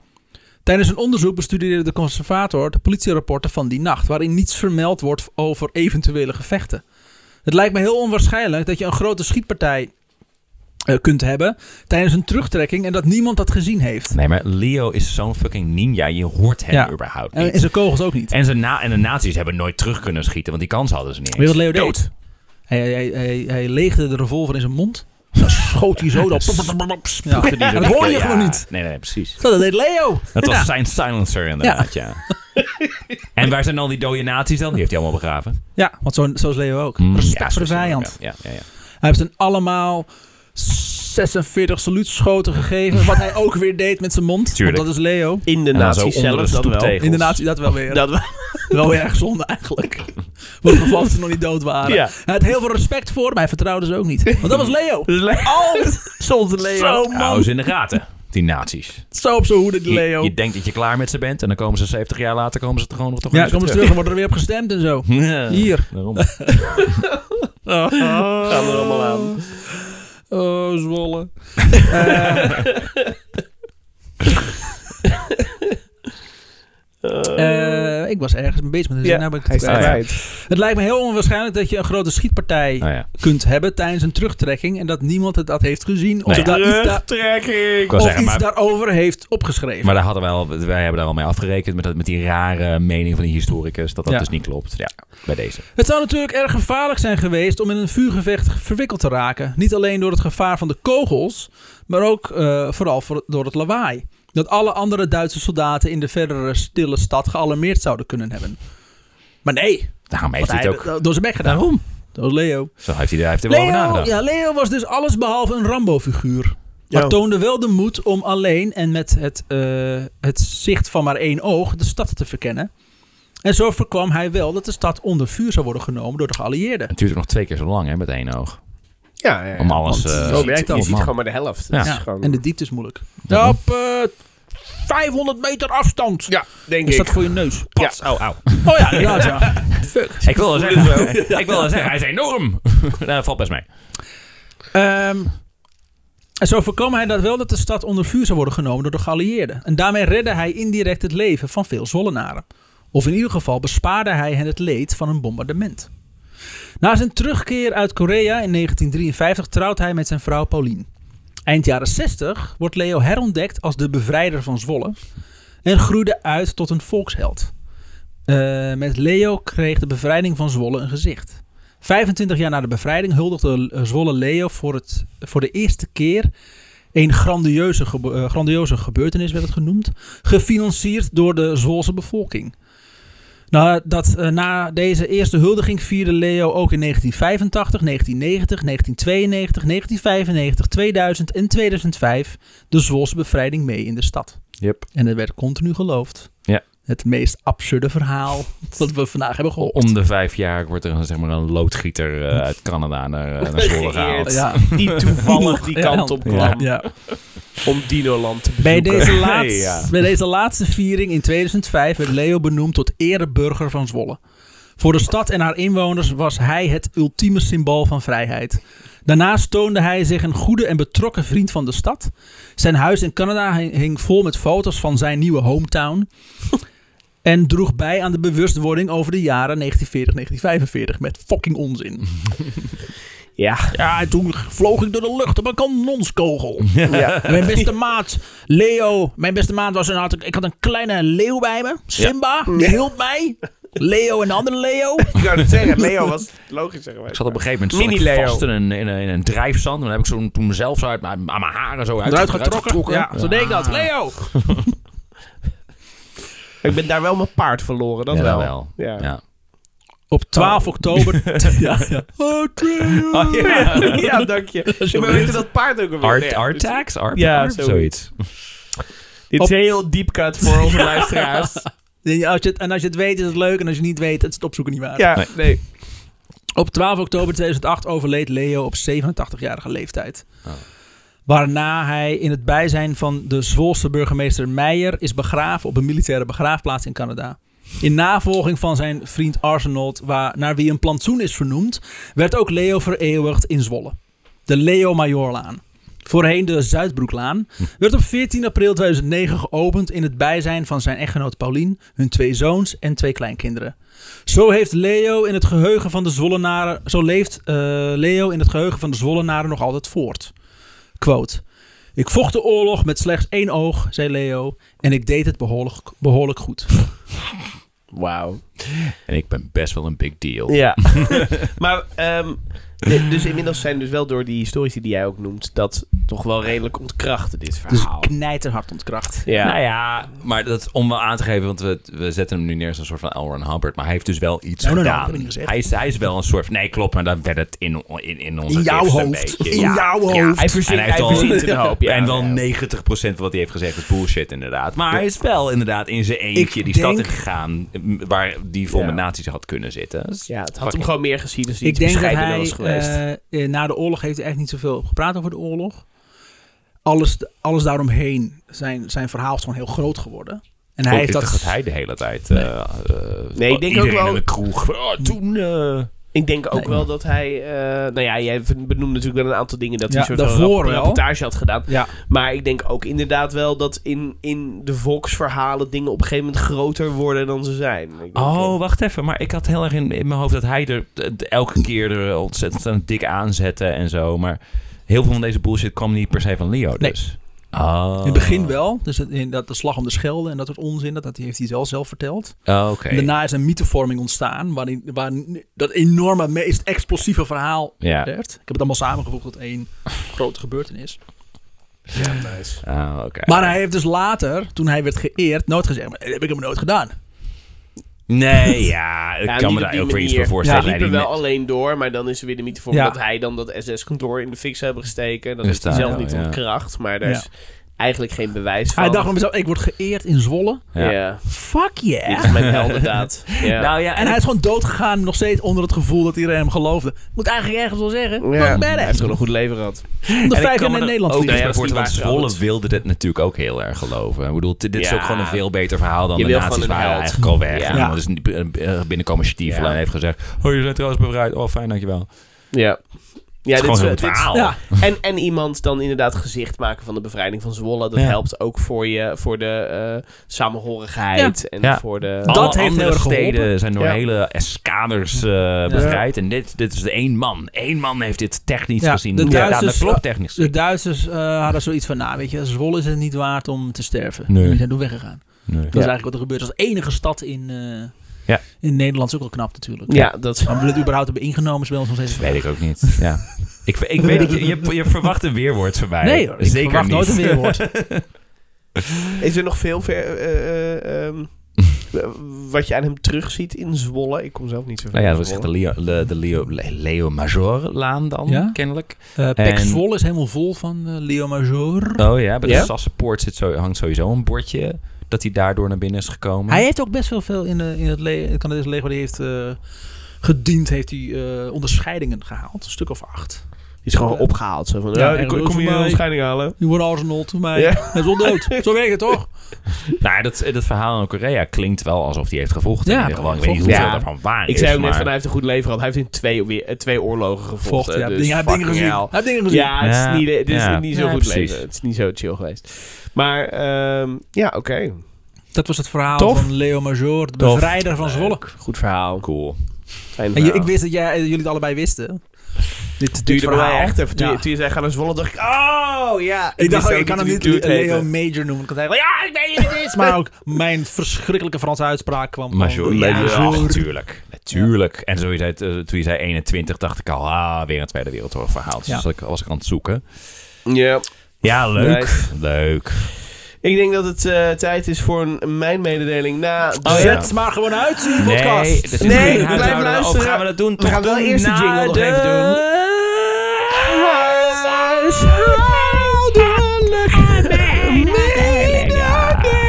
S1: Tijdens een onderzoek bestudeerde de conservator de politierapporten van die nacht, waarin niets vermeld wordt over eventuele gevechten. Het lijkt me heel onwaarschijnlijk dat je een grote schietpartij eh, kunt hebben tijdens een terugtrekking en dat niemand dat gezien heeft.
S3: Nee, maar Leo is zo'n fucking ninja. Je hoort hem
S1: Ja.
S3: überhaupt niet.
S1: En, en zijn kogels ook niet.
S3: En, ze na en de nazi's hebben nooit terug kunnen schieten, want die kans hadden ze niet
S1: Weet
S3: eens.
S1: je wat Leo deed?
S3: Dood.
S1: Hij, hij, hij, hij leegde de revolver in zijn mond
S3: Dan schoot hij zo,
S1: Ja.
S3: dan (laughs) spoegde hij zo.
S1: Dat hoor je gewoon niet.
S3: Nee, nee, precies.
S1: Zo, dat deed Leo.
S3: Dat was
S1: Ja.
S3: zijn silencer inderdaad, ja.
S1: (laughs)
S3: en waar zijn al die dode nazi's dan? Die heeft hij allemaal begraven.
S1: Ja, want zo, zo is Leo ook.
S3: Mm,
S1: Respect
S3: ja, zo
S1: voor de
S3: is hij
S1: vijand.
S3: ook, Ja, ja, ja. ja.
S1: Hij heeft hen allemaal 46 saluutschoten gegeven. Wat hij ook weer deed met zijn mond.
S3: Tuurlijk.
S1: Want dat is Leo.
S2: In de
S3: En dan zo
S2: nazi
S3: onder
S2: zelf
S3: de
S2: dat wel.
S3: stoeptegel.
S1: In de natie, dat wel weer.
S2: Dat wel.
S1: Wel weer erg zonde eigenlijk. Wat geval dat ze nog niet dood waren.
S2: Ja. Dus
S1: Hij had heel veel respect voor, maar hij vertrouwde ze ook niet. Want dat was Leo.
S2: Dat is le- Soms Leo.
S1: Zo man.
S3: Hou ze in de gaten, die nazi's.
S1: Zo op zijn hoede die
S3: Je,
S1: Leo.
S3: je denkt dat je klaar met ze bent en dan komen ze 70 jaar later komen ze er gewoon nog toch
S1: Ja,
S3: eens
S1: kom eens terug. Dan wordt er weer op gestemd en zo.
S3: Ja. (laughs)
S1: Hier.
S3: Daarom.
S2: Gaan we er allemaal aan.
S1: Oh, Zwolle. Eh, ik was ergens een beetje met
S2: Ja,
S1: nou ben ik
S2: hij
S1: het,
S2: staat
S1: kwijt.
S2: uit.
S1: het lijkt me heel onwaarschijnlijk dat je een grote schietpartij
S3: Nou ja.
S1: kunt hebben tijdens een terugtrekking en dat niemand het dat heeft gezien of,
S3: Nee.
S1: daar iets, daar-
S3: Ik
S1: of
S3: wou zeggen,
S1: iets
S3: maar,
S1: daarover heeft opgeschreven.
S3: maar daar hadden wij, al, wij hebben daar al mee afgerekend met, dat, met die rare mening van die historicus. Dat dat
S1: Ja.
S3: dus niet klopt. Ja, bij deze.
S1: Het zou natuurlijk erg gevaarlijk zijn geweest om in een vuurgevecht verwikkeld te raken. Niet alleen door het gevaar van de kogels, maar ook eh, vooral voor, door het lawaai. Dat alle andere Duitse soldaten in de verdere stille stad gealarmeerd zouden kunnen hebben. Maar nee,
S3: Daarom heeft
S1: want
S3: hij
S1: hij
S3: het
S1: heeft
S3: ook.
S1: het door zijn bek gedaan. Daarom. Dat was Leo.
S3: Zo heeft hij, daar heeft hij wel over
S1: Leo,
S3: nagedacht.
S1: ja, Leo was dus allesbehalve een Rambo-figuur. Maar
S2: Ja.
S1: toonde wel de moed om alleen en met het, eh, het zicht van maar één oog de stad te verkennen. En zo voorkwam hij wel dat de stad onder vuur zou worden genomen door de geallieerden.
S3: Het duurt ook nog twee keer zo lang hè, met één oog.
S2: Ja, ja, ja.
S3: Om alles...
S1: want Oh,
S3: eh,
S1: zo
S2: Zo werkt dat. Je
S3: man.
S2: ziet gewoon maar de helft. Dat
S3: Ja.
S2: is gewoon-
S1: En de diepte is moeilijk.
S3: Daarom.
S1: Op eh, 500 meter afstand
S2: Ja, denk
S1: is
S2: ik.
S1: dat voor je neus.
S2: Ja.
S1: Pats. Oh ja, inderdaad.
S2: (laughs)
S1: Ja.
S3: Ik wil wel zeggen, (laughs) ik wil wel zeggen, hij is enorm. (laughs) nou, dat valt best mee.
S1: Ehm, en zo voorkwam hij dat wel dat de stad onder vuur zou worden genomen door de geallieerden. En daarmee redde hij indirect het leven van veel Zwollenaren. Of in ieder geval bespaarde hij hen het leed van een bombardement. Na zijn terugkeer uit Korea in 1953 trouwt hij met zijn vrouw Pauline. Eind jaren 60 wordt Leo herontdekt als de bevrijder van Zwolle en groeide uit tot een volksheld. Eh, met Leo kreeg de bevrijding van Zwolle een gezicht. 25 jaar na de bevrijding huldigde eh, Zwolle Leo voor, het, voor de eerste keer een grandieuze, gebe- eh, grandieuze gebeurtenis, werd het genoemd, gefinancierd door de Zwolse bevolking. Na, dat, eh, na deze eerste huldiging vierde Leo ook in 1985, 1990, 1992, 1995, 2000 en 2005 de Zwolse bevrijding mee in de stad.
S3: Yep.
S1: En er werd continu geloofd.
S3: Ja.
S1: Het meest absurde verhaal (laughs) dat we vandaag hebben gehoord.
S3: Om de vijf jaar wordt er een, zeg maar, een loodgieter eh, uit Canada naar, eh, naar Zwolle gehaald.
S2: Geëerd.
S1: (laughs) ja.
S2: die
S1: (laughs)
S2: toevallig
S3: (laughs)
S2: die kant op
S1: Ja.
S2: kwam om Dinoland te
S1: Bij,
S2: bezoeken.
S1: deze laatste,
S2: Nee, (laughs) ja.
S1: bij deze laatste viering in 2005 werd Leo benoemd tot ereburger van Zwolle. Voor de stad en haar inwoners was hij het ultieme symbool van vrijheid. Daarnaast toonde hij zich een goede en betrokken vriend van de stad. Zijn huis in Canada hing- hing vol met foto's van zijn nieuwe
S2: (laughs)
S1: hometown. En droeg bij aan de bewustwording over de jaren 1940-1945 met fucking
S2: (laughs)
S1: onzin.
S2: Ja.
S1: Ja, en toen vloog ik door de lucht op een kanonskogel.
S2: Ja.
S1: En (laughs) mijn beste maat, Leo. Mijn beste maat was een. Had, ik ik had een kleine leeuw bij me. Simba. Die hielp mij. Leo en de andere Leo.
S2: Ik zou het zeggen, Leo was logisch zeggen wij.
S3: Ik zat op een gegeven moment zat ik
S2: Mini-Leo.
S3: vast in een, in, een, in een drijfzand. En dan heb ik zo toen mezelf zo uit, mijn- aan mijn haren zo uit,
S1: Eruit getrokken. Ja, zo deed ik dat. Leo.
S2: Ik ben daar wel mijn paard verloren, dat
S3: Ja,
S2: wel.
S3: dat wel.
S2: Ja. Ja.
S3: Ja.
S1: Op 12 oktober. Oh. (laughs) ja, ja. Oh, true.
S2: (laughs) Ja, dank
S3: (laughs)
S2: je. Maar we weten dat paard ook alweer.
S3: Art,
S2: Nee,
S3: art
S2: dus
S3: tax? Art,
S2: Ja,
S3: art- zoiets.
S2: Dit is
S1: Op-
S2: heel deep cut voor
S3: (laughs)
S2: onze luisteraars.
S1: Ja, als je het, en als je het weet, is het leuk. En als je het niet weet, is het opzoeken niet waar.
S2: Ja, nee.
S1: Op 12 oktober 2008 overleed Leo op 87-jarige leeftijd.
S3: Oh.
S1: Waarna hij in het bijzijn van de Zwolse burgemeester Meijer is begraven op een militaire begraafplaats in Canada. In navolging van zijn vriend Arsenault, waar, naar wie een plantsoen is vernoemd, werd ook Leo vereeuwigd in Zwolle. De Leo Majorlaan, voorheen de Zuidbroeklaan, werd op 14 april 2009 geopend in het bijzijn van zijn echtgenoot Paulien, hun twee zoons en twee kleinkinderen. Zo heeft Leo in het geheugen van de Zwollenaren. Zo leeft eh, Leo in het geheugen van de Zwollenaren nog altijd voort. Quote. Ik vocht de oorlog met slechts één oog, zei Leo. En ik deed het behoorlijk, behoorlijk goed.
S2: Wauw.
S3: (laughs) En ik ben best wel een big deal.
S2: Ja. maar ehm, Nee, dus inmiddels zijn dus wel door die historici die jij ook noemt... dat toch wel redelijk ontkrachten,
S3: Dus
S2: dit verhaal.
S1: Dus Knijterhard ontkracht.
S2: ja.
S3: Nou ja, maar dat is om wel aan te geven, want we, we zetten hem nu neer als een soort van Elron Hubbard. Maar hij heeft dus wel iets
S1: Nou, nou, nou, dat
S3: gedaan.
S1: heb ik niet gezegd.
S3: hij, is, hij is wel een soort van- Nee, klopt, maar dan werd het in, in, in onze
S1: In jouw
S3: giften
S1: hoofd.
S3: Een beetje.
S1: In jouw hoofd.
S2: Hij verzint-
S3: En heeft
S2: hij
S3: al-
S2: verzint een hoop, ja.
S3: en wel
S2: Ja.
S3: 90% van wat hij heeft gezegd is bullshit, inderdaad. Maar hij is wel inderdaad in zijn eentje
S1: Ik
S3: die stad
S1: denk-
S3: ingegaan m, waar die vol
S2: Ja.
S3: met nazi's had kunnen zitten. Dus
S2: Ja, het had hem
S3: fucking-
S2: gewoon meer gezien als hij
S1: Ik denk
S2: iets
S1: dat
S2: bescheidener
S1: hij
S2: was geweest.
S1: eh, eh, na de oorlog heeft hij echt niet zoveel gepraat over de oorlog. Alles, alles daaromheen, zijn, zijn verhaal is gewoon heel groot geworden. En hij
S3: Oh,
S1: heeft
S3: ik dacht
S1: dat...
S3: hij de hele tijd... eh, eh,
S2: Nee, ik denk ook
S3: iedereen
S2: wel-
S3: in de kroeg. Oh, toen... eh,
S2: Ik denk ook
S1: Nee.
S2: wel dat hij... eh, nou ja, jij benoemde natuurlijk wel een aantal dingen... dat
S1: Ja,
S2: hij een soort
S1: daarvoor
S2: van rap-
S1: wel.
S2: rapportage had gedaan.
S1: Ja,
S2: Maar ik denk ook inderdaad wel dat in, in de volksverhalen... dingen op een gegeven moment groter worden dan ze zijn. Ik denk,
S3: Oh, wacht even. Maar ik had heel erg in, in mijn hoofd dat hij er eh,
S2: Hm.
S3: elke keer er ontzettend aan dik aan zette en zo. Maar heel veel van deze bullshit kwam niet per se van Leo.
S1: Nee.
S3: Dus. Oh.
S1: in het begin wel. Dus dat, in dat de slag om de Schelde en dat soort onzin, dat, dat heeft hij zelf zelf verteld.
S3: Oh, Oké.
S1: En daarna is een mythevorming ontstaan, waarin, waarin dat enorme, meest explosieve verhaal
S3: Ja.
S1: werd. Ik heb het allemaal samengevoegd tot één (laughs) grote gebeurtenis.
S3: Oh, oké.
S1: Maar hij heeft dus later, toen hij werd geëerd, nooit gezegd, maar dat heb ik hem nooit gedaan. (laughs)
S3: Nee, ja. Ik
S2: Ja,
S3: kan
S2: niet
S3: me
S2: op
S3: daar
S2: die
S3: ook weer iets
S2: manier.
S3: voor voorstellen.
S2: Hij
S3: Nee,
S2: liep er
S3: die
S2: wel
S3: net-
S2: alleen door, maar dan is er weer de mythe voor
S1: Ja.
S2: dat hij dan dat SS-kantoor in de fik zou hebben gesteken. Dat
S3: Dus
S2: heeft hij
S3: daar
S2: zelf
S3: wel,
S2: niet
S3: ja. Ah,
S2: ontkracht, maar daar
S1: Ja.
S2: is eigenlijk geen bewijs van.
S1: Hij dacht van mezelf, ik word geëerd in Zwolle.
S2: ja.
S3: Ja.
S1: Fuck yeah.
S2: dit is mijn
S3: (laughs)
S2: heldendaad. Ja.
S3: Nou ja,
S1: En hij is gewoon doodgegaan, nog steeds onder het gevoel dat iedereen hem geloofde. Moet eigenlijk ergens wel zeggen.
S2: Ja.
S1: Ja.
S2: Hij heeft
S1: badass.
S2: gewoon een goed leven gehad.
S1: Onder
S3: en ik
S1: vijf
S3: kan
S1: jaar
S3: me
S1: naar
S3: er
S1: Nederland
S3: ook
S1: vliegen.
S3: iets
S2: Nee,
S3: bij
S2: dat
S3: voorstellen,
S2: is niet
S3: want
S2: waar trouwens.
S3: Zwolle wilde dit natuurlijk ook heel erg geloven. Ik bedoel, dit dit is
S2: Ja.
S3: ook gewoon een veel beter verhaal dan
S2: Je
S3: de
S2: wil gewoon
S3: nazi's
S2: een
S3: waren
S2: held.
S3: eigenlijk al weg.
S2: Ja.
S3: En iemand is niet- eh, binnenkomen stiefelen
S2: Ja.
S3: en heeft gezegd... Oh, je bent trouwens bevrijd. Oh, fijn, dankjewel.
S2: Ja. Ja,
S3: Het is
S2: dit is,
S3: gewoon
S2: wel-
S3: een goed
S2: dit is-
S3: verhaal.
S1: Ja.
S2: en, en iemand dan inderdaad gezicht maken van de bevrijding van Zwolle. Dat
S3: Ja.
S2: helpt ook voor, je, voor de eh, samenhorigheid en
S3: Ja.
S2: voor de...
S1: Dat
S3: Alle
S1: heeft heel
S3: andere
S1: erg geholpen.
S3: steden zijn door
S2: Ja.
S3: hele eskaders eh, bevrijd. En dit, dit is de één man. Eén man heeft dit technisch
S1: Ja,
S3: gezien.
S1: de
S3: Ja, nou,
S1: Duitsers-
S3: dat klopt technisch.
S1: De Duitsers eh, hadden zoiets van, nou weet je, Zwolle is het niet waard om te sterven.
S3: Nee.
S1: Die zijn toen weggegaan.
S3: Nee.
S1: Dat is eigenlijk wat er gebeurt. Als enige stad in, eh,
S3: Ja.
S1: in Nederland is ook wel knap natuurlijk.
S2: Ja, dat is...
S1: Maar we het überhaupt hebben ingenomen is bij ons nog steeds een
S3: Weet
S1: vraag.
S3: ik ook niet. Ja. ik, ik weet dat je, je, je verwacht een weerwoord van mij.
S1: Nee hoor, ik
S3: Zeker
S1: verwacht
S3: niet.
S1: nooit een
S3: (laughs)
S1: weerwoord. Eh,
S2: Is er nog veel ver, eh, eh, ehm, w- wat je aan hem terugziet in Zwolle? Ik kom zelf niet zo ver.
S3: Nou ja,
S2: in
S3: dat was echt
S2: Zwolle.
S3: de Leo, de, de Leo, Le- Leo Major laan dan,
S1: Ja?
S3: kennelijk.
S1: Eh
S3: En-
S1: Pek Zwolle is helemaal vol van eh, Leo Major.
S3: Oh ja, bij de
S2: Ja?
S3: Sassenpoort zit zo, hangt sowieso een bordje dat hij daardoor naar binnen is gekomen.
S1: Hij heeft ook best wel veel in, de, in het, le het Canadese leger. Die heeft eh, gediend, heeft hij eh, onderscheidingen gehaald. Een stuk of acht.
S2: Die is gewoon opgehaald. Zo van, ja,
S1: en
S2: ik kom,
S1: dat
S2: kom
S1: is
S2: je
S1: voor mij.
S2: onderscheiding halen?
S1: Die wordt Arsenal voor mij.
S2: Ja.
S1: Hij is wel dood.
S3: (laughs)
S1: Zo werkt het toch?
S3: Nou, dat, dat verhaal in Korea klinkt wel alsof hij heeft gevochten.
S1: Ja,
S3: in ieder geval. Ik weet niet
S1: gevochten.
S3: hoeveel
S2: Ja.
S3: daarvan waar
S2: Ik
S3: is.
S2: zei ook net
S3: maar-
S2: van, hij heeft een goed leven gehad. Hij heeft in twee, weer- eh, twee oorlogen
S1: Vocht,
S2: gevochten.
S1: ja. Hij heeft
S2: dus
S1: dingen
S2: fucking
S1: gezien. Hij
S2: hell.
S1: heeft dingen gezien.
S2: Ja, het
S3: Ja.
S2: is niet, het is
S3: Ja.
S2: niet zo
S3: Ja,
S2: goed
S3: precies.
S2: leven. Het is niet zo chill geweest. Maar ehm, ja, oké.
S1: Dat was het verhaal
S2: Tof.
S1: van Leo Major, de
S3: Tof.
S1: bevrijder van Zwolle.
S2: Goed verhaal.
S3: Cool.
S1: En
S2: Fijn
S1: je-
S2: verhaal.
S1: ik wist dat jij, eh, jullie het allebei wisten. Dit, dit
S2: duurde bij mij
S1: verhaal.
S2: echt even. Toen,
S1: Ja.
S2: je- toen je zei, ga naar Zwolle, dacht ik, oh ja.
S1: Ik dacht,
S2: wist
S1: ook,
S2: ook
S1: ik kan hem
S2: hoe
S1: niet
S2: die dude
S1: Leo
S2: heette.
S1: Major noelen. Ik kan zeggen, ja, ik weet niet wie het is. Maar ook mijn verschrikkelijke Franse uitspraak kwam van-
S3: Major.
S1: Ja,
S3: Ja,
S1: Major.
S3: ach, natuurlijk. Natuurlijk. En zo je zei, eh, toen je zei 21, dacht ik al, ah, weer een Tweede Wereldoorlog verhaal. Dus
S1: Ja.
S3: was, ik, was ik aan het zoeken.
S2: Ja.
S3: Ja, leuk.
S2: Nice.
S3: Leuk.
S2: Ik denk dat het eh, tijd is voor een, mijn mededeling na de
S3: Oh, ja.
S1: Zet ze maar gewoon uit, die
S3: Nee,
S1: podcast.
S3: dit is
S2: Nee,
S3: geen
S2: blijf
S3: huishouden.
S2: luisteren.
S3: Of gaan we dat doen?
S2: We gaan wel eerst de jingle nog even doen.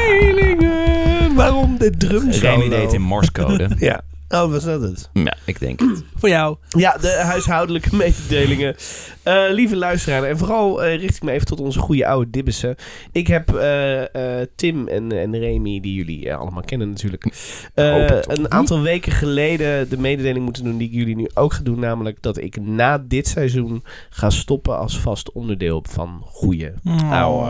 S2: Mededelingen. Waarom de drum
S3: Remy deed in morsecode.
S2: (laughs) Ja. Oh, was dat het?
S3: ja, ik denk het.
S1: Voor jou.
S2: Ja, de huishoudelijke (laughs) mededelingen. Eh, lieve luisteraar, en vooral eh, richt ik me even tot onze goede oude dibbissen. Ik heb eh, eh, Tim en, en Remy, die jullie eh, allemaal kennen natuurlijk, eh,
S3: hoop het toch
S2: een aantal weken geleden de mededeling moeten doen die ik jullie nu ook ga doen. Namelijk dat ik na dit seizoen ga stoppen als vast onderdeel van Goeie
S1: Nou,
S2: Ouwe.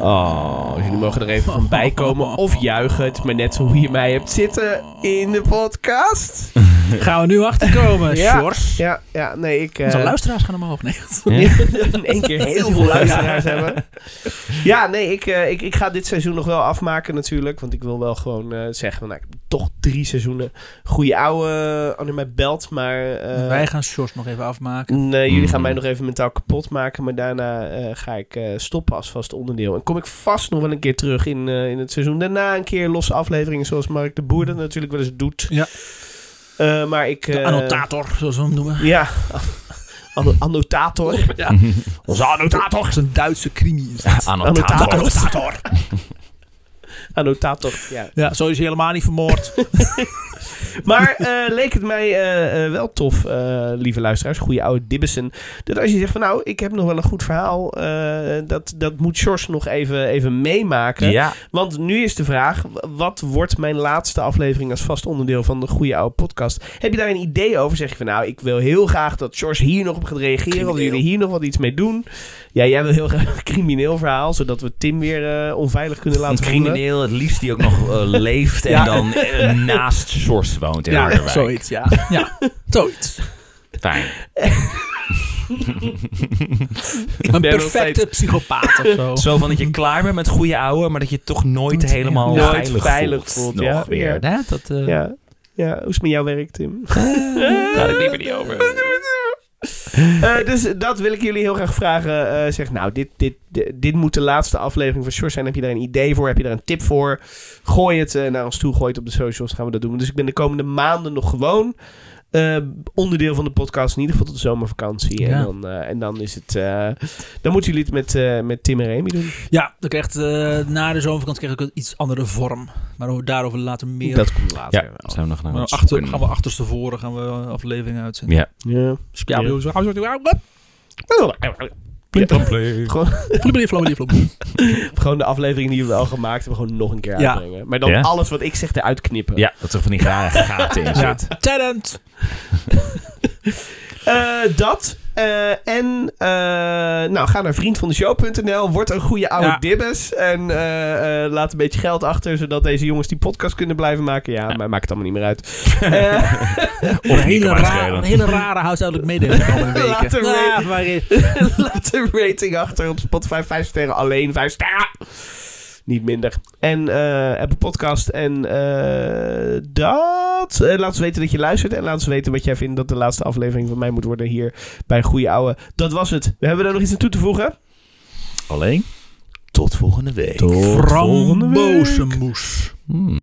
S3: Ah.
S2: Oh, jullie mogen er
S3: (laughs)
S2: even van bijkomen of juichen. Het is maar net zo hoe je mij hebt zitten in de podcast.
S1: Gaan we nu achterkomen,
S2: Ja.
S1: Sjors.
S2: Ja, ja, nee, ik... eh,
S1: Onze luisteraars gaan omhoog. Nee, (laughs)
S2: in één keer heel veel luisteraars hebben. Ja, nee, ik, eh, ik, ik ga dit seizoen nog wel afmaken natuurlijk. Want ik wil wel gewoon eh, zeggen, nou, ik heb toch drie seizoenen goede oude anime belt. Maar eh,
S1: Wij gaan Sjors nog even afmaken.
S2: nee, jullie gaan
S3: Mm.
S2: mij nog even mentaal kapot maken. Maar daarna eh, ga ik eh, stoppen als vast onderdeel. En kom ik vast nog wel een keer terug in, eh, in het seizoen. Daarna een keer losse afleveringen zoals Mark de Boer dat natuurlijk wel eens doet.
S1: Ja.
S2: Eh, maar ik...
S1: De
S2: eh,
S1: annotator, zoals we hem noemen.
S2: Ja, (laughs) anno- annotator.
S1: Onze annotator. Dat is een Duitse crimi. is dat.
S3: Annotator.
S1: Annotator.
S2: Annotator, ja.
S1: Ja, zo is hij helemaal niet
S2: (laughs)
S1: vermoord.
S2: Maar eh, leek het mij eh, eh, wel tof, eh, lieve luisteraars, goede oude Dibbesen. Dat als je zegt van nou, ik heb nog wel een goed verhaal, eh, dat, dat moet Sjors nog even, even meemaken.
S3: Ja,
S2: Want nu is de vraag, w- wat wordt mijn laatste aflevering als vast onderdeel van de goede oude podcast? Heb je daar een idee over? Zeg je van nou, ik wil heel graag dat Sjors hier nog op gaat reageren, of jullie hier nog wat iets mee doen. Ja, jij wil heel graag een (laughs) crimineel verhaal, zodat we Tim weer eh, onveilig kunnen
S3: een
S2: laten voelen.
S3: crimineel, het liefst die ook nog eh, leeft en
S2: Ja.
S3: dan eh, naast Sjors woont in
S1: Ja,
S3: Harderwijk.
S1: zoiets, ja.
S2: (laughs)
S1: Ja, zoiets.
S3: Fijn.
S1: Een
S2: ben nog
S1: perfecte psychopaat of
S2: (laughs)
S1: zo.
S3: Zo van dat je klaar bent met goede ouwe, maar dat je toch nooit
S1: Oh. Nooit
S3: helemaal
S2: helemaal
S3: veilig,
S2: veilig
S3: voelt.
S2: voelt,
S3: nog
S2: ja.
S3: weer. Hè? Dat eh,
S2: Ja. ja, hoe is het met jouw werk,
S3: (laughs)
S2: Tim?
S3: praat Eh, ik liever niet over.
S2: (laughs) Eh, dus dat wil ik jullie heel graag vragen. Eh, zeg, nou, dit, dit, dit, dit moet de laatste aflevering van Short zijn. Heb je daar een idee voor? Heb je daar een tip voor? Gooi het eh, naar ons toe. Gooi het op de socials. Gaan we dat doen. Dus ik ben de komende maanden nog gewoon eh, onderdeel van de podcast. In ieder geval tot de zomervakantie. En,
S1: Ja.
S2: dan, eh, en dan is het... eh, dan moeten jullie het met, eh, met Tim en Remy doen.
S1: Ja, dan krijgt, eh, na de zomervakantie krijg ik een iets andere vorm. Maar over- daarover later meer.
S2: Dat komt later.
S3: Ja, zijn we nog naar
S1: Maar
S3: wat
S1: achter,
S3: zoeken.
S1: gaan we achterstevoren gaan we eh, afleveringen uitzenden.
S3: Ja.
S2: Ja.
S1: Ja,
S2: Ja.
S1: zo-
S3: Plimplomplee.
S1: Flibbidi, flabbidi,
S2: (laughs)
S1: flobbidi.
S2: Gewoon de aflevering die we al gemaakt hebben, gewoon nog een keer
S1: Ja.
S2: uitbrengen. Maar dan
S3: Ja.
S2: alles wat ik zeg eruit knippen.
S3: Ja, dat er van die rare gaten in
S1: Ja.
S3: zit.
S1: Talent.
S2: Eh, dat. eh, en eh, nou, ga naar vriendvandeshow.nl. Word een goede oude
S1: Ja.
S2: dibbes. En eh, eh, laat een beetje geld achter, zodat deze jongens die podcast kunnen blijven maken. Ja, maar maakt het allemaal niet meer uit. Eh,
S1: Een hele,
S3: kan maar
S1: raar,
S3: schelen.
S1: een hele rare huishoudelijk mededeling de
S2: (laughs)
S1: komende weken.
S2: Later
S1: Ja, eh,
S2: weten.
S1: waarin-
S2: (laughs) laat een rating achter op Spotify. Vijf sterren alleen. Vijf sterren. Niet minder. En eh Apple Podcast. En eh, dat. Eh, laat ons weten dat je luistert. En laat ons weten wat jij vindt dat de laatste aflevering van mij moet worden hier bij Goeie Ouwe. Dat was het. We hebben er nog iets aan toe te voegen.
S3: Alleen, tot volgende week.
S1: Frambozenmoes.
S3: Hmm.